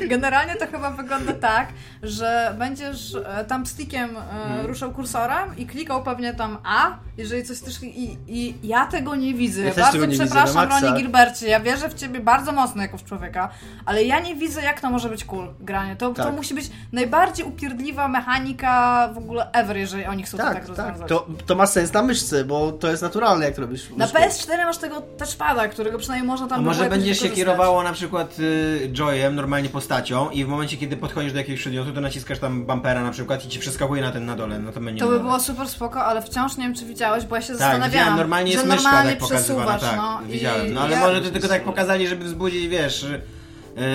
S4: Generalnie to chyba wygląda tak, że będziesz e, tam stickiem e,
S1: Mhm.
S4: ruszał kursorem i klikał pewnie tam A, jeżeli coś też. I, i ja tego nie widzę.
S1: Ja też
S4: Bardzo
S1: tego nie widzę,
S4: przepraszam,
S1: na maksa.
S4: Melanie Gilbercie, ja wierzę w ciebie bardzo mocno jako w człowieka, ale ja nie widzę, jak to może być cool granie. To, to
S1: Tak.
S4: musi być najbardziej upierdliwa mechanika w ogóle ever, jeżeli oni chcą to tak
S1: Tak,
S4: rozwiązać.
S1: tak. To, to ma sens na myszce, bo to jest naturalne, jak to robisz.
S4: Na
S1: myszką.
S4: PS4 masz tego touchpada, którego przynajmniej można tam
S3: A może
S4: było jakoś
S3: będziesz się
S4: wykorzystać.
S3: kierowało na przykład y, Joyem, normalnie postacią i w momencie, kiedy podchodzisz do jakiegoś przedmiotu, to naciskasz tam bumpera na przykład i ci przeskakuje na ten na dole, no to menu.
S4: To by
S3: na dole.
S4: było super spoko, ale wciąż nie wiem, czy widziałeś, bo ja się
S3: Tak, widziałem,
S4: zastanawiałam.
S3: normalnie jest
S4: że
S3: myszka
S4: normalnie
S3: tak pokazywana,
S4: przesuwasz,
S3: tak,
S4: no. i-
S3: widziałem. No ale
S4: ja-
S3: może to tylko tak pokazali, żeby wzbudzić, wiesz, y,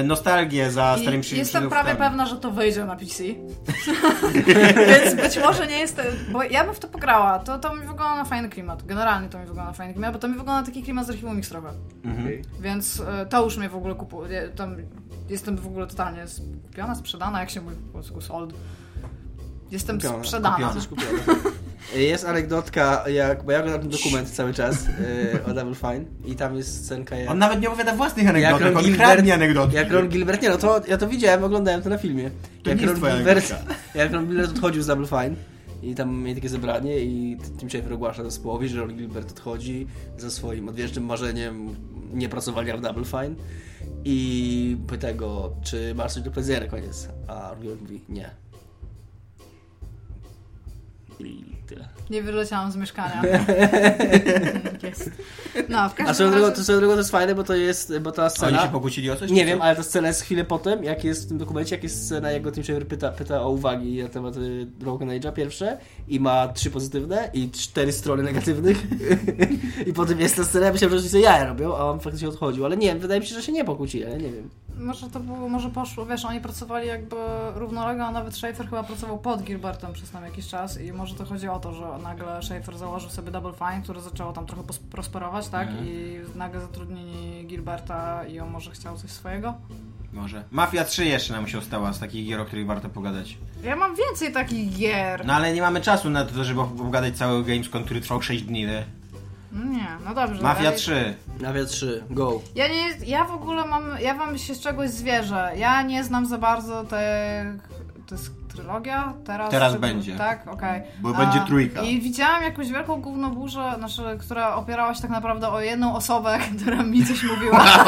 S3: nostalgię za starymi
S4: I
S3: przyjaciółmi.
S4: jestem prawie pewna, że to wyjdzie na PC. Więc być może nie jestem. Bo ja bym w to pograła. To, to mi wygląda na fajny klimat. Generalnie to mi wygląda na fajny klimat, bo to mi wygląda na taki klimat z archiwum Mixrowe.
S3: Mhm.
S4: Więc y, to już mnie w ogóle kupuje. Tam jestem w ogóle totalnie skupiona, sprzedana, jak się mówi po polsku, sold. Jestem
S1: Kupiona,
S4: sprzedana.
S3: kupiona.
S1: Coś kupione. Jest anegdotka, jak, bo ja oglądam ten dokument cały czas yy, o Double Fine i tam jest scenka jak...
S3: On nawet nie opowiada własnych
S1: Jak
S3: anegdotek,
S1: Ron,
S3: on
S1: Gilbert,
S3: No, kradnie anegdotki.
S1: jak Ron Gilbert, nie no to ja to widziałem, oglądałem to na filmie.
S3: To
S1: jak,
S3: nie jest
S1: Ron
S3: twoja
S1: Gilbert,
S3: anegdotka.
S1: jak Ron Gilbert odchodził z Double Fine i tam mieli takie zebranie i t- Tim Schafer ogłasza zespołowi, że Ron Gilbert odchodzi ze swoim odwiecznym marzeniem niepracowania w Double Fine i pyta go, czy masz coś do powiedzenia na koniec, a Ron Gilbert mówi nie. I tyle.
S4: Nie wyleciałam z mieszkania. Tak Jest. No, w każdym
S1: A swoją drogą,
S4: razie...
S1: to, swoją drogą to jest fajne, bo to jest, bo ta
S3: Oni
S1: scena...
S3: się pokłócili o coś?
S1: Nie
S3: czy
S1: wiem,
S3: co?
S1: ale ta scena jest chwilę potem, jak jest w tym dokumencie, jak jest scena, jak go Tim Schafer pyta, pyta o uwagi na temat y, Broken Age'a pierwsze i ma trzy pozytywne i cztery strony negatywnych i potem jest ta scena, ja myślałem, że się jaja robią, a on faktycznie odchodził, ale nie, wydaje mi się, że się nie pokłócili, ale nie wiem.
S4: Może to było, może poszło, wiesz, oni pracowali jakby równolegle, a nawet Schaefer chyba pracował pod Gilbertem przez tam jakiś czas i może to chodzi o to, że nagle Schaefer założył sobie Double Fine, które zaczęło tam trochę pos- prosperować, tak?
S1: Mhm.
S4: I nagle zatrudnili Gilberta i on może chciał coś swojego.
S3: Może. Mafia 3 jeszcze nam się ostała z takich gier, o których warto pogadać.
S4: Ja mam więcej takich gier.
S3: No ale nie mamy czasu na to, żeby pogadać cały Gamescom, który trwał 6 dni. nie?
S4: Nie, no dobrze.
S3: Mafia
S4: dalej.
S3: 3.
S1: Nawia 3, go.
S4: Ja nie, ja w ogóle mam, ja wam się z czegoś zwierzę. Ja nie znam za bardzo tych, to jest trylogia? Teraz,
S3: Teraz będzie.
S4: Tak, okej.
S3: Bo
S4: A,
S3: będzie trójka.
S4: I widziałam jakąś wielką gównoburzę, znaczy, która opierała się tak naprawdę o jedną osobę, która mi coś mówiła.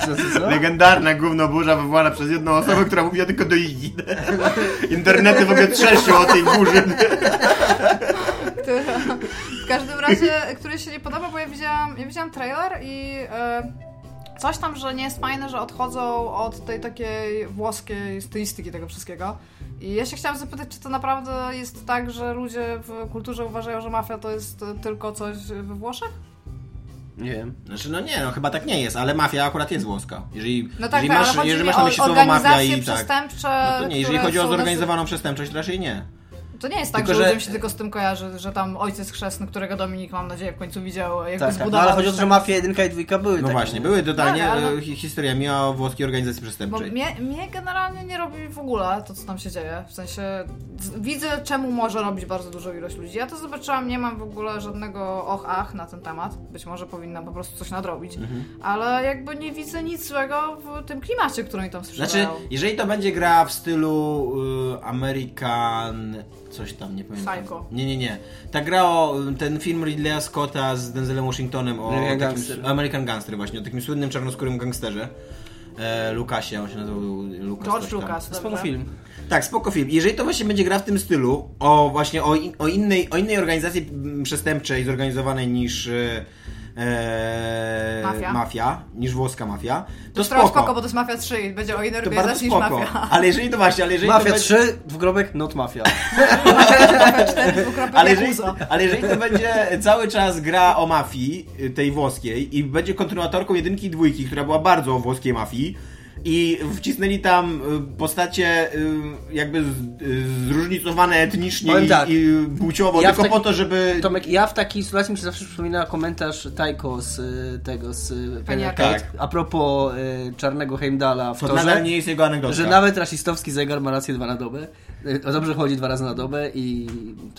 S1: Co, co, co?
S3: Legendarna gówno burza wywołana przez jedną osobę, która mówiła tylko do Iggy. Internety w ogóle trzęsią o tej burzy.
S4: która, w każdym razie, której się nie podoba, bo ja widziałam, ja widziałam trailer i e, coś tam, że nie jest fajne, że odchodzą od tej takiej włoskiej stylistyki tego wszystkiego. I ja się chciałam zapytać, czy to naprawdę jest tak, że ludzie w kulturze uważają, że mafia to jest e, tylko coś we Włoszech?
S1: Nie wiem.
S3: Znaczy no nie, no chyba tak nie jest, ale mafia akurat jest włoska. Jeżeli,
S4: No tak,
S3: jeżeli
S4: tak, ale
S3: masz,
S4: chodzi
S3: jeżeli
S4: mi
S3: masz na
S4: o
S3: myśli słowo mafia
S4: organizacje
S3: i tak.
S4: przestępcze,
S3: No to nie, jeżeli
S4: które
S3: chodzi o
S4: są nas-
S3: zorganizowaną przestępczość, raczej nie.
S4: To nie jest tak,
S3: Tylko,
S4: że
S3: że-
S4: ludziom się tylko z tym kojarzy, że tam ojciec chrzestny, którego Dominik, mam nadzieję, w końcu widział, jak
S1: Tak, tak. No,
S4: zbudował.
S1: ale chodzi o to, że Mafia 1 i 2 były
S3: No
S1: takie.
S3: właśnie, były totalnie
S4: Tak, ale-
S3: e, hi- historiami o włoskiej organizacji
S4: Bo
S3: przestępczej.
S4: mnie, mnie generalnie nie robi w ogóle to, co tam się dzieje. W sensie z- widzę, czemu może robić bardzo dużą ilość ludzi. Ja to zobaczyłam, nie mam w ogóle żadnego och, ach na ten temat. Być może powinnam po prostu coś nadrobić.
S3: Mhm.
S4: Ale jakby nie widzę nic złego w tym klimacie, który oni tam sprzedają.
S3: Znaczy, jeżeli to będzie gra w stylu y, American... coś tam, nie pamiętam.
S4: Psycho.
S3: Nie, nie, nie. Ta gra o y, ten film Ridleya Scotta z Denzelem Washingtonem o
S1: American
S3: takim,
S1: Gangster.
S3: American Gangster właśnie, o takim słynnym czarnoskórym gangsterze. E, Lukasie, on się nazywał y, Lukas.
S4: George
S3: coś tam.
S4: Lucas.
S1: Spoko
S4: dobrze?
S1: film.
S3: Tak, spoko film. Jeżeli to właśnie będzie gra w tym stylu, o właśnie o, in, o, innej, o innej organizacji mm, przestępczej zorganizowanej niż e, e,
S4: Mafia.
S3: niż włoska mafia, to
S4: To
S3: spoko.
S4: spoko. spoko, bo to jest Mafia 3 i będzie o innej
S3: to bardzo
S4: organizacji niż
S3: spoko.
S4: Mafia.
S3: Ale jeżeli to właśnie, ale jeżeli
S1: Mafia
S3: to będzie,
S1: 3, w grobek, not Mafia.
S4: Mafia 4, dwukropek
S3: ale jeżeli,
S4: Yakuza.
S3: ale jeżeli to będzie cały czas gra o mafii, y, tej włoskiej, i będzie kontynuatorką jedynki i dwójki, która była bardzo o włoskiej mafii, i wcisnęli tam y, postacie y, jakby z- y, zróżnicowane etnicznie
S1: Powiem
S3: i,
S1: tak.
S3: i płciowo,
S1: Ja w
S3: tylko
S1: tak-
S3: po to, żeby...
S1: Tomek, ja w takiej sytuacji mi się zawsze przypomina komentarz Tajko z y, tego, z y,
S4: Penny
S1: Penny
S4: Arcade.
S3: Tak.
S1: Arcade, a propos y, czarnego Heimdala w
S3: To
S1: torze,
S3: nadal nie jest jego anegdotka. No
S1: że nawet rasistowski zegar ma rację dwa na dobę, Y, o dobrze chodzi dwa razy na dobę i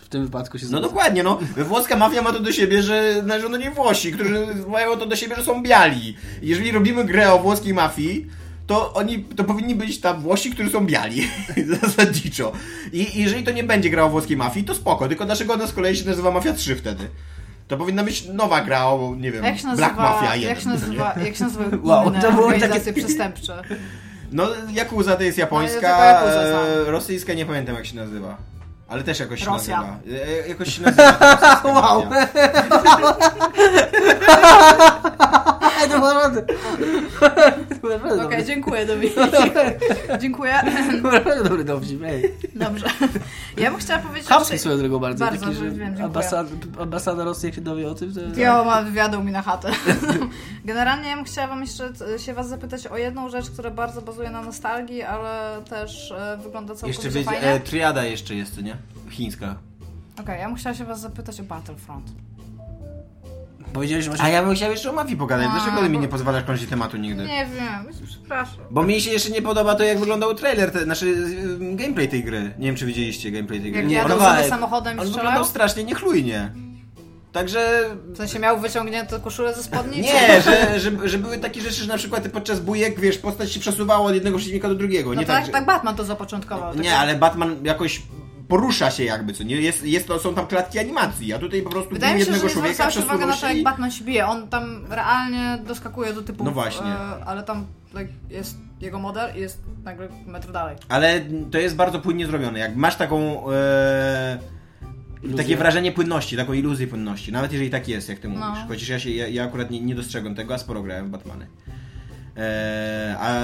S1: w tym wypadku się
S3: No
S1: zgadza.
S3: dokładnie, no. Włoska mafia ma to do siebie, że należą do niej Włosi, którzy mają to do siebie, że są biali. Jeżeli robimy grę o włoskiej mafii, to oni, to powinni być tam Włosi, którzy są biali. Zasadniczo. I jeżeli to nie będzie gra o włoskiej mafii, to spoko, tylko dlaczego ona z kolei się nazywa Mafia 3 wtedy? To powinna być nowa gra o, nie wiem,
S4: Jak się
S3: Black Mafia no
S4: nazywa,
S3: 1.
S4: jak się nazywa, jak się nazywa
S1: Wow,
S4: wow,
S1: to było
S4: organizacje
S1: takie-
S4: przestępcze?
S3: No, Yakuza to jest
S4: No,
S3: japońska,
S4: ja tylko Yakuza
S3: e,
S4: znam.
S3: rosyjska nie pamiętam jak się nazywa. Ale też jakoś się
S4: Rosja.
S3: nazywa. E, Jakoś się nazywa. ta rosyjska
S1: Wow.
S3: mafia.
S1: Ej,
S3: no,
S1: to naprawdę. To naprawdę
S4: Okej,
S1: dobry-
S4: dziękuję Dominik. dziękuję.
S1: Naprawdę dobry dowcip, ej.
S4: Dobrze. Ja bym chciała powiedzieć,
S1: Chamski
S4: że...
S1: swoją drogą bardzo.
S4: Bardzo,
S1: taki,
S4: wiem, dziękuję.
S1: ambasada, ambasada Rosji, jak się dowie o tym, to...
S4: Ja ma wywiadą mi na chatę. Generalnie ja bym chciała wam jeszcze e, się was zapytać o jedną rzecz, która bardzo bazuje na nostalgii, ale też e, wygląda całkowicie
S3: Jeszcze wiedzie,
S4: fajnie.
S3: e, triada jeszcze jest, co nie? Chińska.
S4: Okej, ja bym chciała się was zapytać o Battlefront.
S1: Powiedziałeś, że masz...
S3: A ja bym chciał jeszcze o mafii pogadać.
S4: A,
S3: Dlaczego mi
S4: bo-
S3: nie pozwalasz kończyć tematu nigdy?
S4: Nie wiem, przepraszam.
S3: Bo mi się jeszcze nie podoba to, jak wyglądał trailer, te, znaczy y, gameplay tej gry. Nie wiem, czy widzieliście gameplay tej gry.
S4: Jak
S1: Nie,
S4: jadą
S1: dawaj.
S4: sobie samochodem i
S3: On
S4: strzelają?
S3: wyglądał strasznie niechlujnie. Także...
S4: W sensie miał wyciągnięte koszulę ze spodnicy?
S3: Nie, że, że, że były takie rzeczy, że na przykład podczas bujek, wiesz, postać się przesuwała od jednego przeciwnika do drugiego.
S4: No
S3: nie
S4: tak, tak,
S3: że-
S4: Batman to zapoczątkował. tak
S3: Nie, ale Batman jakoś porusza się jakby, co nie? Jest, jest to, są tam klatki animacji, a tutaj po prostu
S4: Wydaje mi
S3: bił
S4: się, że
S3: jednego
S4: nie
S3: człowieka
S4: zwracasz uwagi na
S3: przesuwał
S4: to,
S3: się
S4: jak
S3: i...
S4: Batman się bije. On tam realnie doskakuje do typu.
S3: No właśnie.
S4: ale tam tak, jest jego model i jest nagle metr dalej.
S3: Ale to jest bardzo płynnie zrobione. Jak masz taką... E...
S1: Iluzję.
S3: Takie wrażenie płynności, taką iluzję płynności. Nawet jeżeli tak jest, jak ty mówisz.
S4: No.
S3: Chociaż ja się, ja, ja akurat nie, nie dostrzegam tego, a sporo grałem w Batmany. Eee, a,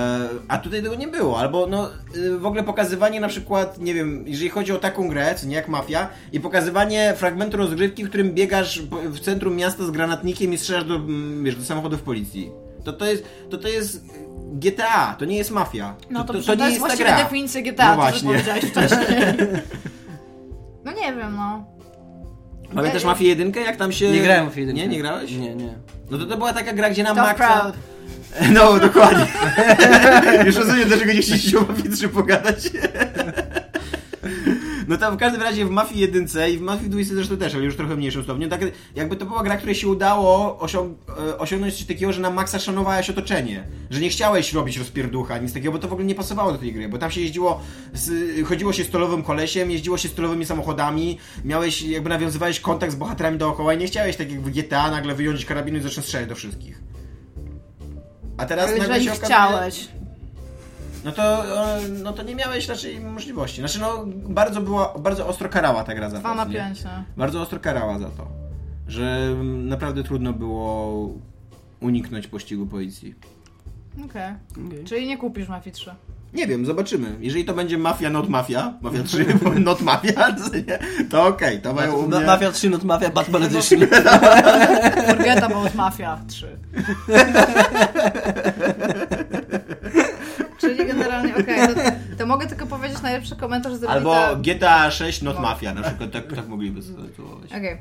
S3: a tutaj tego nie było, albo no y, w ogóle pokazywanie na przykład, nie wiem, jeżeli chodzi o taką grę, co nie jak mafia, i pokazywanie fragmentu rozgrywki, w którym biegasz po- w centrum miasta z granatnikiem i strzelasz do, mm, wiesz, do samochodów policji. To to jest, to to jest GTA, to nie jest mafia.
S4: No to, to,
S3: nie
S4: jest
S3: jest ta
S4: właściwie
S3: gra.
S4: definicja GTA, to co
S3: No właśnie.
S4: powiedziałeś wcześniej. No nie wiem, no.
S3: Mamy też mafię jedynkę, jak tam się...
S1: Nie grałem w jedynkę.
S3: Nie, nie grałeś?
S1: Nie, nie.
S3: No to to była taka gra, gdzie na
S4: Tom
S3: maksa...
S4: Proud.
S3: No, dokładnie. Już rozumiem, dlaczego nie chcieliście o Mafii 3 pogadać. No tam w każdym razie w Mafii 1 i w Mafii 2 zresztą też, ale już trochę mniejszym stopniu. Tak, jakby to była gra, której się udało osią- e, osiągnąć coś takiego, że na maksa szanowałeś otoczenie. Że nie chciałeś robić rozpierducha, nic takiego, bo to w ogóle nie pasowało do tej gry. Bo tam się jeździło, z, chodziło się stolowym kolesiem, jeździło się stolowymi samochodami, miałeś, jakby nawiązywałeś kontakt z bohaterami dookoła i nie chciałeś tak jak w GTA nagle wyjąć karabinu i zacząć strzelać do wszystkich. A teraz
S4: Ale
S3: nagle
S4: Jeżeli
S3: się okazuje-
S4: chciałeś.
S3: no to, e, no to nie miałeś raczej możliwości. Znaczy no, bardzo była, bardzo ostro karała ta gra za to.
S4: Dwa na
S3: nie?
S4: pięć, no.
S3: Bardzo ostro karała za to, że mm, naprawdę trudno było uniknąć pościgu policji.
S4: Okej. Czyli nie kupisz Mafii 3.
S3: Nie wiem, zobaczymy. Jeżeli to będzie Mafia Not Mafia, Mafia 3 Not Mafia, to, nie, to okej, to mają
S4: Znaczy,
S3: u
S1: Ma-
S3: mnie...
S1: Mafia 3, not Mafia, Batman Edition.
S4: Forget about Mafia 3. Czyli generalnie, okej, to, to mogę tylko powiedzieć najlepszy komentarz z
S3: Albo
S4: Reddita.
S3: GTA 6 Not
S4: No.
S3: Mafia, na przykład tak, tak mogliby zatytułować.
S4: Okej.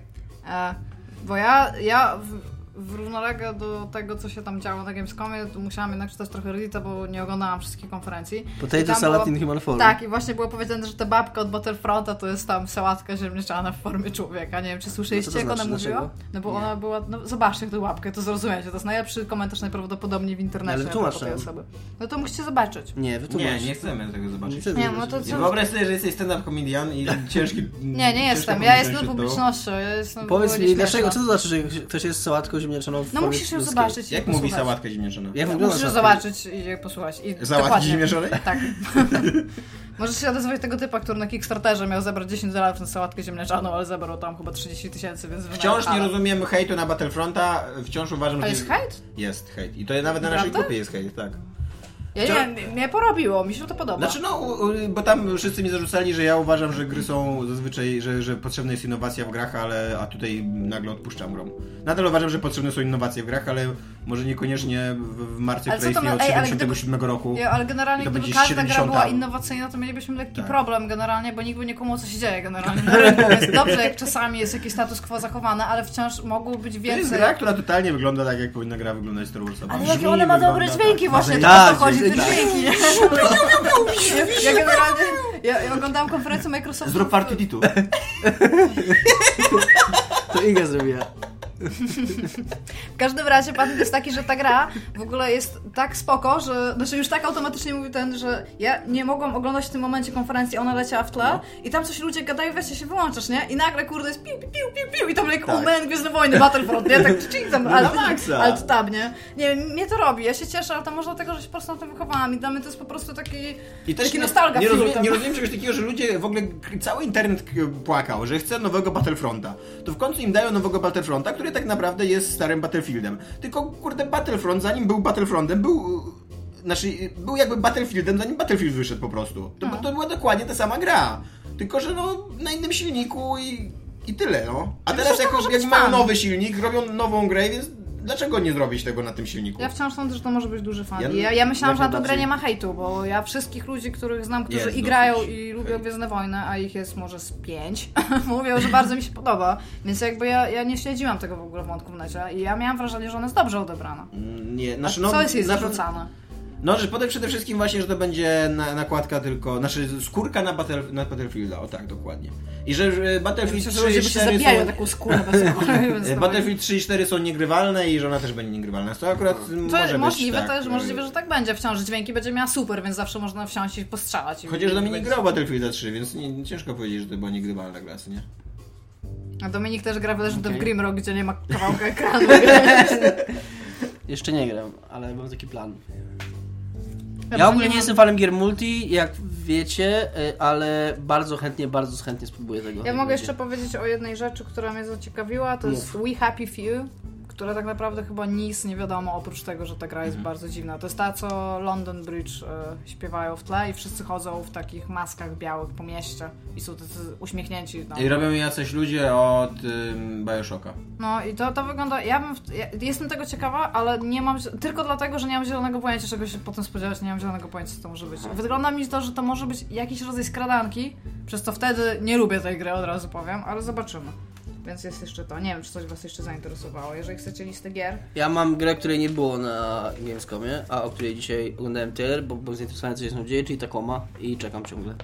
S4: E, Bo ja, ja w, w równolegle do tego, co się tam działo na Gamescomie, to musiałam jednak czytać trochę Reddita, bo nie oglądałam wszystkich konferencji. I
S1: Potato
S4: tam
S1: salad
S4: było-
S1: in human form.
S4: Tak, i właśnie było powiedziane, że ta babka od Battlefronta to jest tam sałatka ziemniaczana w formie człowieka. Nie wiem, czy słyszeliście,
S1: No co to
S4: jak ona
S1: znaczy?
S4: mówiła?
S1: Dlaczego?
S4: No bo
S1: Nie.
S4: ona była, no zobaczcie tę łapkę, to zrozumiecie. To jest najlepszy komentarz najprawdopodobniej w internecie.
S1: Ale
S4: na
S1: tłumacz
S4: temat tej
S1: nam.
S4: osoby. No to musicie zobaczyć.
S1: Nie,
S3: Nie,
S1: wytłumacz.
S3: nie chcemy tego zobaczyć.
S1: chcę
S4: Nie, no
S1: zobaczyć.
S4: to co-
S3: Nie, Wyobraź sobie, że jesteś stand-up comedian i ciężki...
S4: Nie, nie jestem. Ja jestem publicznością. Ja jestem
S1: Powiedz
S4: było
S1: mi,
S4: nieśmieszne.
S1: dlaczego, co to znaczy, że ktoś jest sałatką ziemniaczaną w
S4: No
S1: formie
S4: musisz ją
S1: ludzkiej?
S4: zobaczyć. i
S3: Jak mówi
S4: posłuchać.
S3: sałatka ziemniaczana?
S1: Jak wygląda
S4: Musisz ją
S1: sałatka?
S4: zobaczyć i je posłuchać. I
S3: Załatwić
S4: dokładnie.
S3: zmierzony?
S4: Tak. Możesz się odezwać tego typa, który na Kickstarterze miał zebrać 10 dolarów na sałatkę ziemniaczaną, ale zebrał tam chyba 30 tysięcy, więc
S3: Wciąż nie
S4: wynajechałem.
S3: rozumiem hejtu na Battlefronta, wciąż uważam,
S4: To
S3: że...
S4: jest hejt?
S3: Jest hejt. I to nawet na naszej
S4: Naprawdę?
S3: grupie jest hejt, tak.
S4: Ja
S3: Wciąż-
S4: nie, mnie porobiło, mi się to podoba.
S3: Znaczy no, u- u- bo tam wszyscy mi zarzucali, że ja uważam, że gry są zazwyczaj, że, że potrzebna jest innowacja w grach, ale a tutaj nagle odpuszczam grom. Nadal uważam, że potrzebne są innowacje w grach, ale może niekoniecznie w, w marcie,
S4: Ale co
S3: która
S4: to ma-
S3: istnieje od
S4: ej, ale
S3: 77 roku.
S4: ja, ale generalnie
S3: I to
S4: gdyby
S3: będzie
S4: każda
S3: 70.
S4: gra była innowacyjna, to mielibyśmy lekki
S3: Tak.
S4: problem generalnie, bo nikt by nie kumał, co się dzieje generalnie na rynku. Więc dobrze, jak czasami jest jakiś status quo zachowany, ale wciąż mogło być
S3: To jest
S4: więcej.
S3: gra, która totalnie wygląda tak, jak powinna gra wyglądać Star Warsowa.
S4: Ale
S3: Brzmi,
S4: jakie ona ma dobre
S3: wygląda,
S4: dźwięki
S3: tak.
S4: właśnie, to
S1: tak,
S4: o to chodzi, te
S1: tak.
S4: dźwięki. Ja, ja generalnie, ja, ja oglądałam konferencję Microsoftu.
S3: Zrób party titu.
S1: To Inga zrobiła.
S4: W każdym razie patent jest taki, że ta gra w ogóle jest tak spoko, że znaczy już tak automatycznie mówi ten, że ja nie mogłam oglądać w tym momencie konferencji, ona leciała w
S3: No.
S4: tle i tam coś ludzie gadają, weźcie się wyłączasz, nie? I nagle kurde jest piu, piu, piu, piu, piu i tam
S1: Tak.
S4: like, tak. Omen, Gwiezdne Wojny, Battlefront, nie? Tak czy tam, tak,
S1: No na
S4: alt,
S1: maksa.
S4: alt tab, nie? Nie wiem, mnie to robi, ja się cieszę, ale to może dlatego, że się po prostu na tym wychowałam i dla mnie to jest po prostu taki,
S3: I też
S4: taki
S3: nie,
S4: nostalgia
S3: nie,
S4: fuel,
S3: rozumiem,
S4: tam.
S3: nie rozumiem czegoś takiego, że ludzie w ogóle k- cały internet k- płakał, że chce nowego Battlefronta. To w końcu im dają nowego Battlefronta, który tak naprawdę jest starym Battlefieldem. Tylko kurde Battlefront, zanim był Battlefrontem, był y, znaczy y, był jakby Battlefieldem, zanim Battlefield wyszedł po prostu. To, to była dokładnie ta sama gra. Tylko że no na innym silniku i, i tyle, no. A teraz
S4: przecież to
S3: jako,
S4: może
S3: jak
S4: być
S3: mają
S4: fan.
S3: nowy silnik, robią nową grę, więc dlaczego nie zrobić tego na tym silniku?
S4: Ja wciąż sądzę, że to może być duży fan.
S3: Ja-
S4: Ja, ja, ja myślałam,
S3: jak
S4: że na tą grę
S3: najbardziej.
S4: nie ma hejtu, bo ja wszystkich ludzi, których znam, którzy
S3: Jest
S4: i grają
S3: dosyć
S4: i lubią
S3: hejt.
S4: Gwiezdne Wojny, a ich jest może z pięć, mówią, że bardzo mi się podoba. Więc jakby ja, ja nie śledziłam tego w ogóle wątku w necie i ja miałam wrażenie, że ona jest dobrze odebrana.
S3: Mm, Nie,
S4: A
S3: znaczy, no,
S4: co jest jej
S3: na-
S4: zarzucane?
S3: No, że potem przede wszystkim właśnie, że to będzie na, nakładka tylko, znaczy skórka na, battle, na Battlefielda, o tak, dokładnie. I że że Battlefield
S4: Myślę,
S3: 3
S4: że ludzie
S3: i
S4: by się tak
S3: 4
S4: zabijają
S3: są...
S4: o taką skórę bez skóry. więc
S3: e,
S4: to-
S3: Battlefield 3 i 4 są niegrywalne i że ona też będzie niegrywalna. To akurat m,
S4: To
S3: może
S4: możliwe,
S3: być, tak,
S4: też możliwe, że tak będzie. Wciąż dźwięki będzie miała super, więc zawsze można wsiąść i postrzelać. i-
S3: Chociaż Dominik
S4: będzie-
S3: grał w Battlefielda 3, więc nie, ciężko powiedzieć, że to była niegrywalna gra, co nie?
S4: A Dominik też gra w Legend
S1: Okej.
S4: of Grimrock, gdzie nie ma kawałka ekranu.
S1: Jeszcze nie gram, ale mam taki plan. Ja
S4: to
S1: ogólnie
S4: nie
S1: nie
S4: mam-
S1: jestem fanem gier multi, jak wiecie, y, ale bardzo chętnie, bardzo chętnie spróbuję tego.
S4: Ja
S1: jak
S4: mogę
S1: będzie.
S4: jeszcze powiedzieć o jednej rzeczy, która mnie zaciekawiła, to
S1: Mów.
S4: jest We Happy Few, która tak naprawdę chyba nic nie wiadomo oprócz tego, że ta gra
S1: Mhm.
S4: jest bardzo dziwna. To jest ta, co London Bridge e, śpiewają w tle i wszyscy chodzą w takich maskach białych po mieście i są tacy uśmiechnięci. No,
S3: I robią jacyś ludzie od ym, Bioshocka.
S4: no i to, to wygląda... Ja, bym, w- ja jestem tego ciekawa, ale nie mam... zi- Tylko dlatego, że nie mam zielonego pojęcia, czego się potem spodziewać, nie mam zielonego pojęcia, co to może być. Wygląda mi to, że to może być jakiś rodzaj skradanki, przez to wtedy nie lubię tej gry, od razu powiem, ale zobaczymy. Więc jest jeszcze to. Nie wiem, czy coś Was jeszcze zainteresowało. Jeżeli chcecie listę gier,
S1: Ja mam grę, której nie było na Gamescomie, a o której dzisiaj oglądałem trailer, bo byłem zainteresowany, co się z nią dzieje, czyli Takoma i czekam ciągle.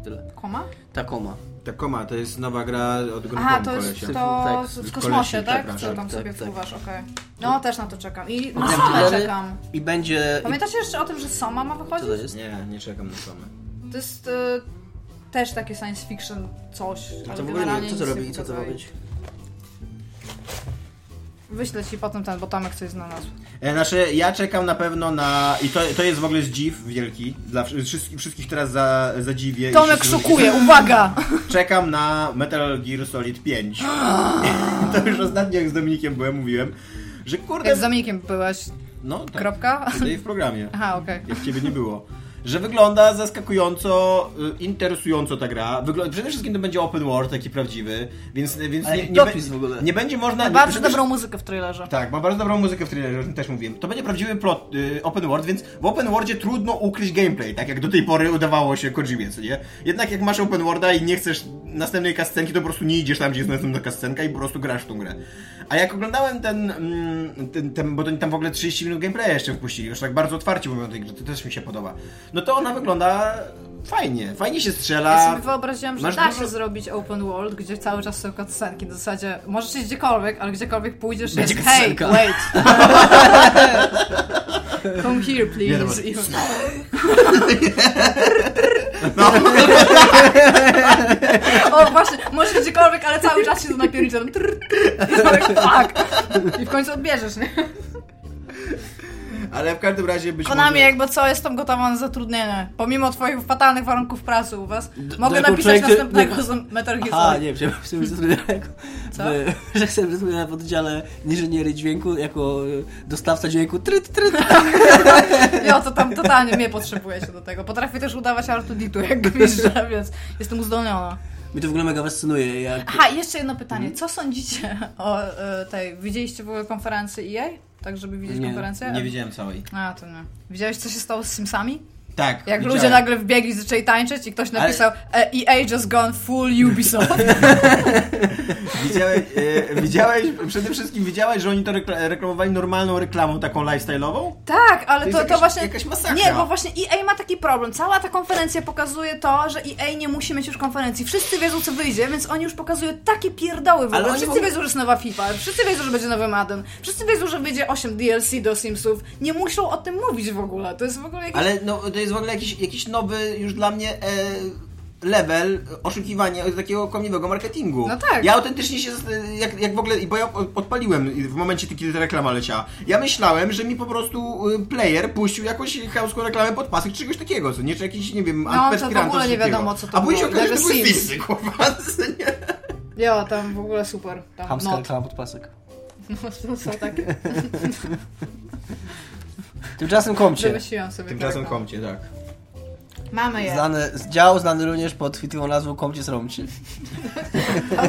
S1: I tyle.
S4: koma?
S1: Takoma.
S3: Takoma, to jest nowa gra od grupy
S4: Aha, to jest to
S1: Tak,
S4: w
S3: w
S4: kosmosie,
S3: kolesie,
S4: tak?
S3: tak,
S4: Co
S3: tak,
S4: tam
S1: tak,
S4: sobie
S1: tak.
S4: wpływasz, okej. No, też na to czekam. I na
S1: Tam
S4: Somę
S1: trailery?
S4: czekam.
S1: I będzie... I
S4: Pamiętacie jeszcze o tym, że Soma ma
S1: co to
S4: wychodzić?
S1: jest?
S3: Nie, nie czekam na samą.
S4: To jest y, też takie science fiction coś, ale
S1: To w ogóle nie
S4: generalnie
S1: wiem, co to
S4: nic
S1: robi i co to ma
S4: pokazali.
S1: być.
S4: Wyślę Ci potem ten, bo Tomek coś znalazł.
S3: E, Znaczy, ja czekam na pewno na. I to, to jest w ogóle zdziw wielki. Dla wszy- wszystkich, wszystkich teraz za, zadziwię. i
S4: Tomek
S3: wszyscy-
S4: szokuje, uwaga!
S3: Czekam na Metal Gear Solid 5. to już ostatnio, jak z Dominikiem byłem, mówiłem, że kurde.
S4: Jak z Dominikiem byłeś,
S3: No, tak,
S4: kropka?
S3: Tutaj w programie.
S4: Aha, okej.
S3: Jak ciebie nie było. Że wygląda zaskakująco, y, interesująco ta gra. Wygląda, przede wszystkim to będzie open world, taki prawdziwy, więc, więc
S1: Ale
S3: nie,
S1: jaki
S3: nie,
S1: opis w ogóle?
S3: nie będzie można. nie-
S4: Bardzo
S3: przede-
S4: dobrą muzykę w trailerze.
S3: tak, ma bardzo dobrą muzykę w thrillerze, o tym też mówiłem. To będzie prawdziwy plot y, open world, więc w open worldzie trudno ukryć gameplay, tak jak do tej pory udawało się Kojimie, co nie? Jednak jak masz open worlda i nie chcesz następnej kascenki, to po prostu nie idziesz tam, gdzie jest następna kascenka i po prostu grasz w tą grę. A jak oglądałem ten, mm, ten, ten bo to oni tam w ogóle 30 minut gameplaya jeszcze wpuścili, już tak bardzo otwarcie mówią o tej grze, to też mi się podoba. No to ona wygląda fajnie, fajnie się strzela.
S4: Ja sobie wyobraziłam, że
S3: masz
S4: da
S3: dużo-
S4: się zrobić open world, gdzie cały czas są cutscenki. W zasadzie możesz iść gdziekolwiek, ale gdziekolwiek pójdziesz
S1: Będzie
S4: jest hej,
S1: cutscenka."
S4: wait. Come here,
S3: Nie,
S4: please.
S3: dobra.
S4: I-
S3: No.
S4: O, właśnie, możesz gdziekolwiek, ale cały czas się to napierdzisz. tam trrr, trrr, I Tomek, fuck. I w końcu odbierzesz, nie?
S3: Ale w każdym razie być
S4: Konami,
S3: może...
S4: jakby co, jestem gotowa na zatrudnienie. Pomimo twoich fatalnych warunków pracy u was, mogę
S1: jako
S4: napisać
S1: człowiek, który-
S4: następnego z Metal Gear
S1: Aha,
S4: Solid.
S1: nie, wiem, w sumie zatrudniałem
S4: Co?
S1: że chcę zatrudniać w oddziale inżynierii dźwięku jako y, dostawca dźwięku tryt, tryt.
S4: Ja to tam totalnie mnie potrzebuje się do tego. Potrafię też udawać Artuditu, jak gwizdzę, więc jestem uzdolniona.
S1: Mnie to w ogóle mega fascynuje, jak...
S4: Aha, i jeszcze jedno pytanie.
S1: Mhm.
S4: Co sądzicie o e, tej... Widzieliście w ogóle konferencję EA? Tak, żeby widzieć
S1: Nie,
S4: konferencję?
S3: Nie wiedziałem całej.
S4: A, to nie. Widziałeś, co się stało z Simsami?
S3: Tak.
S4: Jak
S3: widziałem.
S4: ludzie nagle wbiegli, zaczęli tańczyć i ktoś napisał e, EA just gone full Ubisoft.
S3: Widziałeś, e, widziałeś, przede wszystkim widziałeś, że oni to rekla- reklamowali normalną reklamą, taką lifestyle'ową?
S4: tak, ale
S3: To
S4: to, to,
S3: jest jakaś-
S4: właśnie...
S3: jakaś masakra.
S4: Nie, bo właśnie EA ma taki problem. Cała ta konferencja pokazuje to, że EA nie musi mieć już konferencji. Wszyscy wiedzą, co wyjdzie, więc oni już pokazują takie pierdoły w
S1: Ale
S4: ogóle.
S1: oni w
S4: Wszyscy
S1: ogóle-
S4: wiedzą, że jest nowa FIFA, wszyscy wiedzą, że będzie nowy Madden, wszyscy wiedzą, że wyjdzie 8 DLC do Simsów. Nie muszą o tym mówić w ogóle. To jest w ogóle jakieś...
S3: Ale no, to jest w ogóle jakiś, jakiś nowy już dla mnie e, level oszukiwania takiego kłamliwego marketingu.
S4: No tak.
S3: Ja autentycznie się, zast- jak, jak w ogóle, bo ja odpaliłem w momencie, kiedy ta reklama leciała. Ja myślałem, że mi po prostu y, player puścił jakąś chamską reklamę pod pasek, czegoś takiego, co nie? Czy jakiś, nie wiem,
S4: No, to w ogóle
S3: Antwerp Grand, coś
S4: nie wiadomo,
S3: takiego.
S4: co to
S3: A później
S4: było.
S3: okazało się, że to
S4: Level
S3: były
S4: Sims.
S3: Simsy, kurwa, co nie?
S4: Ja, tam w ogóle super. Tam
S1: Hamska
S4: not.
S1: reklama pod pasek.
S4: No, to są takie...
S1: Tymczasem komcie.
S4: Wymyśliłam sobie.
S3: Tymczasem
S4: taką.
S3: komcie, tak.
S4: Mamy je.
S1: Znany, z- dział znany również pod chwytliwą nazwą Komcie Sromcie.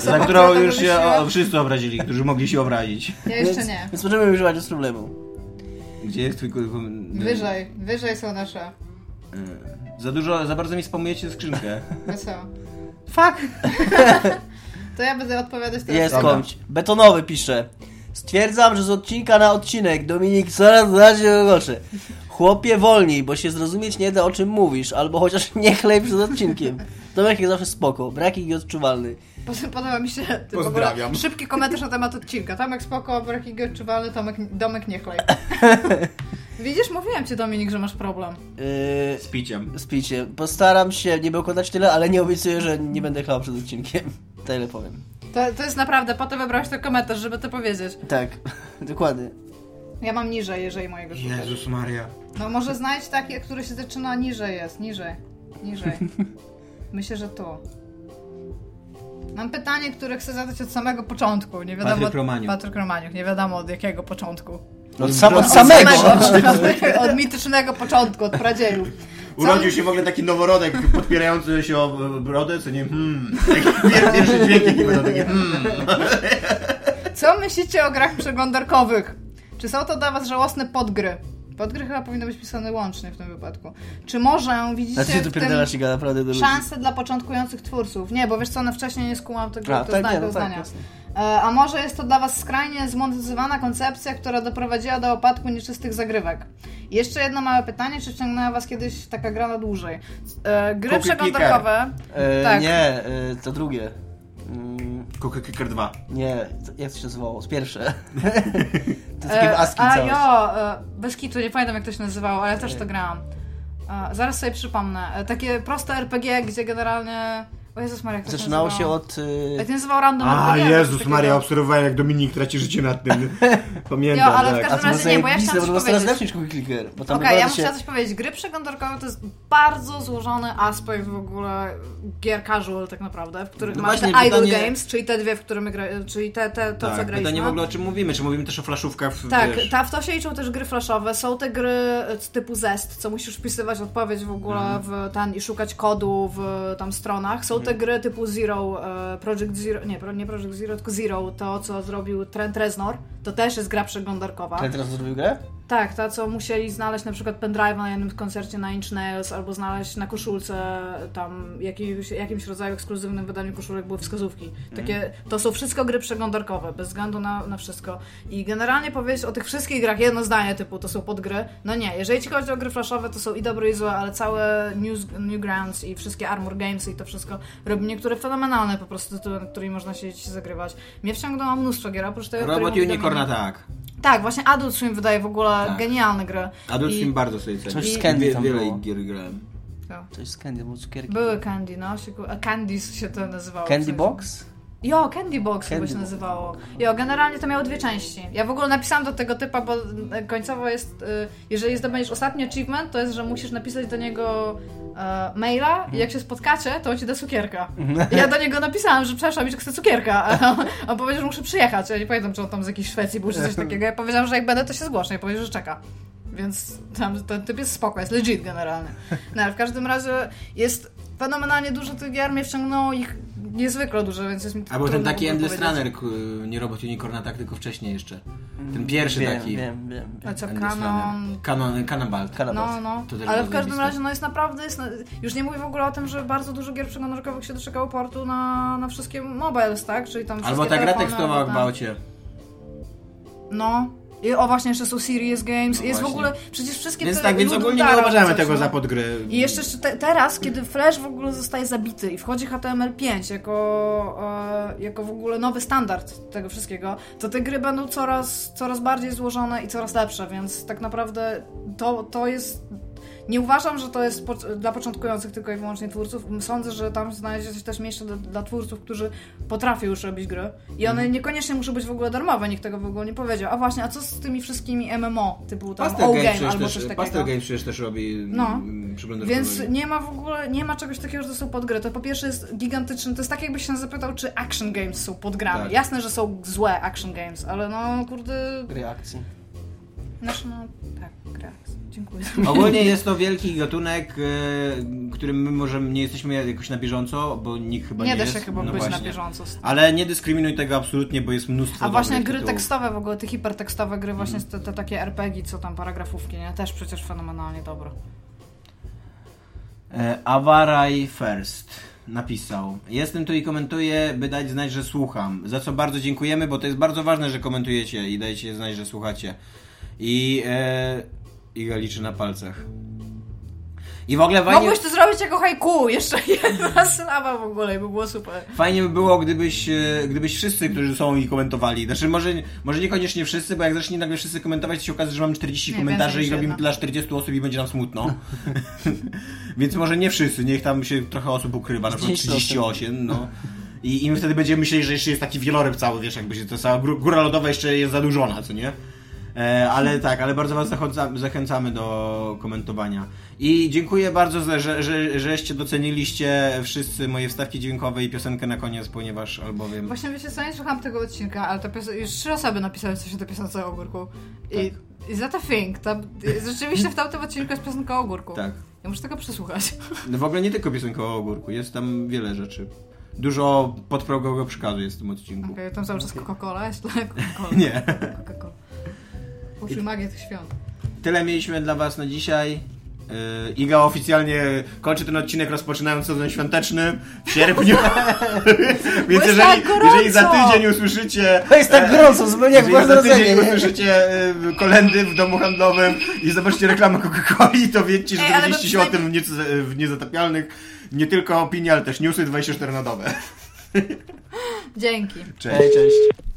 S3: Za którą już się o, wszyscy obrazili, którzy mogli się obrazić.
S4: Ja jeszcze nie.
S1: Więc możemy używać bez problemu.
S3: Gdzie jest twój... kur-
S4: Wyżej, wyżej są nasze.
S3: E, Za dużo, za bardzo mi spamujecie skrzynkę.
S4: Wesoło.
S3: Fuck!
S4: No To ja będę odpowiadać teraz.
S1: Jest
S3: Dobra.
S1: komć. Betonowy pisze. Stwierdzam, że z odcinka na odcinek Dominik coraz bardziej rogoczy. Chłopie wolniej, bo się zrozumieć nie da o czym mówisz, albo chociaż nie chlej przed odcinkiem. Tomek jest zawsze spoko, brak ich odczuwalny.
S4: Potem podoba mi się ty, w
S3: Pozdrawiam.
S4: ogóle szybki komentarz na temat odcinka. Tomek spoko, braki odczuwalny, Tomek, Domek nie chlej. Widzisz, mówiłem ci Dominik, że masz problem.
S1: Yy,
S3: Z piciem.
S1: z piciem. Postaram się nie bełkotać tyle, ale nie obiecuję, że nie będę chlał przed odcinkiem. Tyle powiem.
S4: To, to jest naprawdę, po to wybrałeś ten komentarz, żeby to powiedzieć.
S1: Tak, dokładnie.
S4: Ja mam niżej, jeżeli mojego szukasz.
S3: Jezus Maria.
S4: No może znajdź takie, które się zaczyna niżej jest, niżej, niżej. Myślę, że tu. Mam pytanie, które chcę zadać od samego początku. Nie wiadomo
S3: Patryk Romaniuk.
S4: Patryk Romaniuk, nie wiadomo od jakiego początku.
S1: Od, sam, od
S3: Od
S1: samego!
S4: Od, od, od mitycznego początku, od pradziejów. Co-
S3: Urodził się w ogóle taki noworodek podpierający się o brodę, co nie hmm. Taki pier- Pierwszy dźwięk jaki będą takie hmm.
S4: Co myślicie o grach przeglądarkowych? Czy są to dla was żałosne podgry? Podgry chyba powinny być pisane łącznie w tym wypadku. Czy może widzicie
S1: Znaczy, ty
S4: w
S1: tu
S4: tym
S1: pierdalasz Iga, naprawdę do ludzi.
S4: szansę dla początkujących twórców? Nie, bo wiesz co, no wcześniej nie skułam tego,
S1: A,
S4: to
S1: tak, nie,
S4: zdania,
S1: no
S4: tego
S1: tak,
S4: zdania.
S1: jasne.
S4: E, A może jest to dla Was skrajnie zmonetyzowana koncepcja, która doprowadziła do opadku nieczystych zagrywek? I Jeszcze jedno małe pytanie, czy wciągnęła Was kiedyś taka gra na dłużej? E, Gry
S3: Cookie
S4: przeglądarkowe...
S1: E,
S4: Tak.
S1: Nie, e, to drugie. Mm,
S3: Kuka Kicker 2.
S1: Nie, to- jak to się nazywało? Z pierwsze. to jest
S4: E,
S1: takie aski
S4: A
S1: całość.
S4: jo, e, bez kitu, nie pamiętam jak to się nazywało, ale ja też to grałam. E, Zaraz sobie przypomnę. E, Takie proste RPG, gdzie generalnie... O Jezus Maria, jak to się
S1: Zaczynało się
S4: nazywało?
S1: od... y,
S4: Jak to się nazywało random
S3: A
S4: RPG, coś
S3: Jezus
S4: takiego.
S3: Maria, obserwowałem jak Dominik traci życie nad tym. Pamiętam,
S4: Jo, ale w
S3: tak.
S4: każdym-
S1: to
S4: razie znaczy, nie, bo ja
S1: zajebiste,
S4: chciałam
S1: bo
S4: coś
S1: to teraz
S4: powiedzieć.
S1: lepszy niż Cookie Clicker, bo tam
S4: Okej, ja
S1: naprawdę
S4: muszę coś powiedzieć. Gry przeglądarkowe to jest bardzo złożony aspekt w ogóle gier casual tak naprawdę, w których
S3: No
S4: masz te
S3: właśnie,
S4: idle
S3: pytanie-
S4: games, czyli te dwie, w które my gra... czyli te, te to co
S3: Tak,
S4: graliśmy. No.
S3: pytanie w ogóle o czym mówimy, czy mówimy też o flaszówkach w,
S4: Tak,
S3: wiesz,
S4: ta, w to się liczą też gry flashowe. Są te gry e, typu Zest, co musisz wpisywać odpowiedź w ogóle
S3: Mhm.
S4: w ten i szukać kodu w e, tam stronach. Są te gry typu Zero, e, Project Zero, nie, pro- nie Project Zero, tylko Zero, to co zrobił Trent Reznor, to też jest gra przeglądarkowa.
S1: Ten teraz zrobił grę?
S4: Tak, ta co musieli znaleźć na przykład pendrive'a na jednym koncercie na Inch Nails, albo znaleźć na koszulce e, tam jakimś, jakimś rodzaju ekskluzywnym wydaniu koszulek były wskazówki. Takie, to są wszystko gry przeglądarkowe, bez względu na, na wszystko. I generalnie powiedzieć o tych wszystkich grach jedno zdanie typu to są podgry, no nie, jeżeli ci chodzi o gry flashowe to są i dobre i złe, ale całe News, Newgrounds i wszystkie Armor Games i to wszystko robi niektóre fenomenalne po prostu tytuły, na którymi można siedzieć i zagrywać. Mnie wciągnęło mnóstwo gier, oprócz tego, o której
S3: Robot
S4: mówi
S3: Unicorna,
S4: Dominik.
S3: tak.
S4: Tak, właśnie Adult Swim wydaje w ogóle
S3: Tak.
S4: genialne gry.
S3: Adult
S4: I-
S3: Swim bardzo sobie cenię.
S1: Coś z Candy
S3: Wie-
S1: tam
S3: Wiele
S1: było.
S3: gier grałem.
S4: To.
S1: Coś z Candy, bo cukierki.
S4: Były Candy, no. Się, ku- a Candies się to nazywało.
S1: Candy
S4: Coś-
S1: Box?
S4: Jo, Candy Box
S1: Candy
S4: chyba się
S1: Box.
S4: nazywało. Jo, generalnie to miało dwie części. Ja w ogóle napisałam do tego typa, bo e, końcowo jest, e, jeżeli zdobędziesz ostatni achievement, to jest, że musisz napisać do niego e, maila i jak się spotkacie, to on ci da cukierka. I ja do niego napisałam, że przepraszam, że chcę cukierka, a on, on powiedział, że muszę przyjechać. Ja nie pamiętam, czy on tam z jakiejś Szwecji był, czy coś takiego. Ja powiedziałam, że jak będę, to się zgłoszę. I powiedział, że czeka. Więc tam ten typ jest spoko, jest legit generalny. No ale w każdym razie jest fenomenalnie dużo tych gier, mnie wciągnęło ich niezwykle duże, więc jest mi
S3: Albo ten
S4: trudno
S3: taki
S4: w ogóle
S3: Endless
S4: powiedzieć.
S3: Runner, k- nie robot Unicorna, tak, tylko wcześniej jeszcze.
S4: Mm,
S3: Ten pierwszy
S1: Wiem,
S3: taki.
S1: wiem, wiem.
S4: A
S1: wiem.
S4: co,
S3: Endless
S4: kanon...
S3: Runner. Kanon, Cannibal.
S1: Kanabas.
S4: No, no,
S3: To też
S4: ale
S3: było
S4: w każdym
S3: zajebiste.
S4: razie no jest naprawdę, jest, już nie mówię w ogóle o tym, że bardzo dużo gier przeglądarkowych się doczekało portu na, na wszystkie mobiles, tak? Czyli tam
S3: Albo
S4: wszystkie
S3: ta gra
S4: telefony,
S3: tekstowa o
S4: albo ten-
S3: gwałcie.
S4: No. I, o właśnie, jeszcze są Serious Games.
S3: No
S4: jest
S3: właśnie.
S4: w ogóle, przecież wszystkie
S3: Więc
S4: te
S3: tak, więc
S4: Ludum
S3: ogólnie nie
S4: Dara
S3: uważamy
S4: coś,
S3: tego
S4: no.
S3: za podgry.
S4: I jeszcze jeszcze te, teraz, kiedy Flash w ogóle zostaje zabity i wchodzi HTML5 jako, e, jako w ogóle nowy standard tego wszystkiego, to te gry będą coraz, coraz bardziej złożone i coraz lepsze, więc tak naprawdę to, to jest... Nie uważam, że to jest po, dla początkujących tylko i wyłącznie twórców. Sądzę, że tam znajdzie się też miejsce dla, dla twórców, którzy potrafią już robić gry. I
S3: Mhm.
S4: one niekoniecznie muszą być w ogóle darmowe, nikt tego w ogóle nie powiedział. A właśnie, a co z tymi wszystkimi MMO, typu tam
S3: Pastel
S4: All Game
S3: Game przecież
S4: albo coś
S3: też,
S4: takiego?
S3: Pastel Game przecież też robi
S4: No.
S3: no. przeglądarkowe.
S4: Więc nie ma w ogóle, nie ma czegoś takiego, że to są podgry. To po pierwsze jest gigantyczny, to jest tak jakbyś się zapytał, czy action games są podgrami.
S3: Tak.
S4: Jasne, że są złe action games, ale no kurde,
S1: Reakcji.
S4: znaczy no tak, gra. Dziękuję.
S3: Ogólnie jest to wielki gatunek, y, którym my może nie jesteśmy jakoś na bieżąco, bo nikt chyba nie,
S4: nie da
S3: jest.
S4: się chyba
S3: No
S4: być na
S3: właśnie.
S4: bieżąco. z tym.
S3: Ale nie dyskryminuj tego absolutnie, bo jest Mhm. mnóstwo
S4: A właśnie
S3: dobrych
S4: gry
S3: tytułów.
S4: tekstowe w ogóle, te hipertekstowe gry, właśnie te, te takie RPG, co tam paragrafówki, nie? Też przecież fenomenalnie dobre.
S3: E, Awaraj First napisał. Jestem tu i komentuję, by dać znać, że słucham. Za co bardzo dziękujemy, bo to jest bardzo ważne, że komentujecie i dajecie znać, że słuchacie. I e, Iga liczy na palcach. I w ogóle fajnie,
S4: Mogłeś to zrobić jako haiku, jeszcze jedna sylaba w ogóle i by było super.
S3: fajnie by było, gdybyś, e, gdybyś wszyscy, którzy są i komentowali. Znaczy może, może niekoniecznie wszyscy, bo jak zacznie nagle wszyscy komentować, to się okaże, że mamy 40
S4: Nie,
S3: komentarzy
S4: więcej
S3: i
S4: niż
S3: robimy
S4: jedna.
S3: to dla 40 osób i będzie nam smutno. Więc może nie wszyscy, niech tam się trochę osób ukrywa, na przykład
S1: 30
S3: 38, no. I, I my wtedy będziemy myśleli, że jeszcze jest taki wieloryb cały, wiesz, jakby się to cała gró- góra lodowa jeszcze jest zadłużona, co nie? E, ale tak, ale bardzo Was zachodza- zachęcamy do komentowania. I dziękuję bardzo, za- że, że, żeście doceniliście wszyscy moje wstawki dźwiękowe i piosenkę na koniec, ponieważ albowiem...
S4: Właśnie wiecie co, nie słuchałam tego odcinka, ale ta piosen- już trzy osoby napisały coś o tej piosence o ogórku. I,
S3: Tak.
S4: i za to thing, ta, rzeczywiście w tamtym odcinku jest piosenka o ogórku.
S3: Tak.
S4: Ja muszę tego przesłuchać.
S3: No w ogóle nie tylko piosenka o ogórku, jest tam wiele rzeczy. Dużo podprogowego przekazu jest w tym odcinku.
S4: Okej, tam cały czas Coca-Cola jest, ale Coca-Cola.
S3: Nie.
S4: Coca-Cola. Uczy magię tych świąt.
S3: Tyle mieliśmy dla Was na dzisiaj. Yy, Iga oficjalnie kończy ten odcinek rozpoczynając sezon świąteczny w sierpniu. Więc
S4: Bo jest
S3: jeżeli,
S4: tak gorąco!
S3: jeżeli za tydzień usłyszycie.
S1: To jest tak gorąco, zupełnie jak
S3: Jeżeli za Znaczy, tydzień
S1: w
S3: usłyszycie yy, kolendy w domu handlowym i zobaczycie reklamę Coca-Coli, to wiecie, że
S4: Ej, ale
S3: dowiedzieliście
S4: my
S3: się o tym w,
S4: przynajmniej-
S3: niez- w niezatapialnych nie tylko opinie, ale też newsy 24 na dobę.
S4: Dzięki.
S3: Cześć, cześć.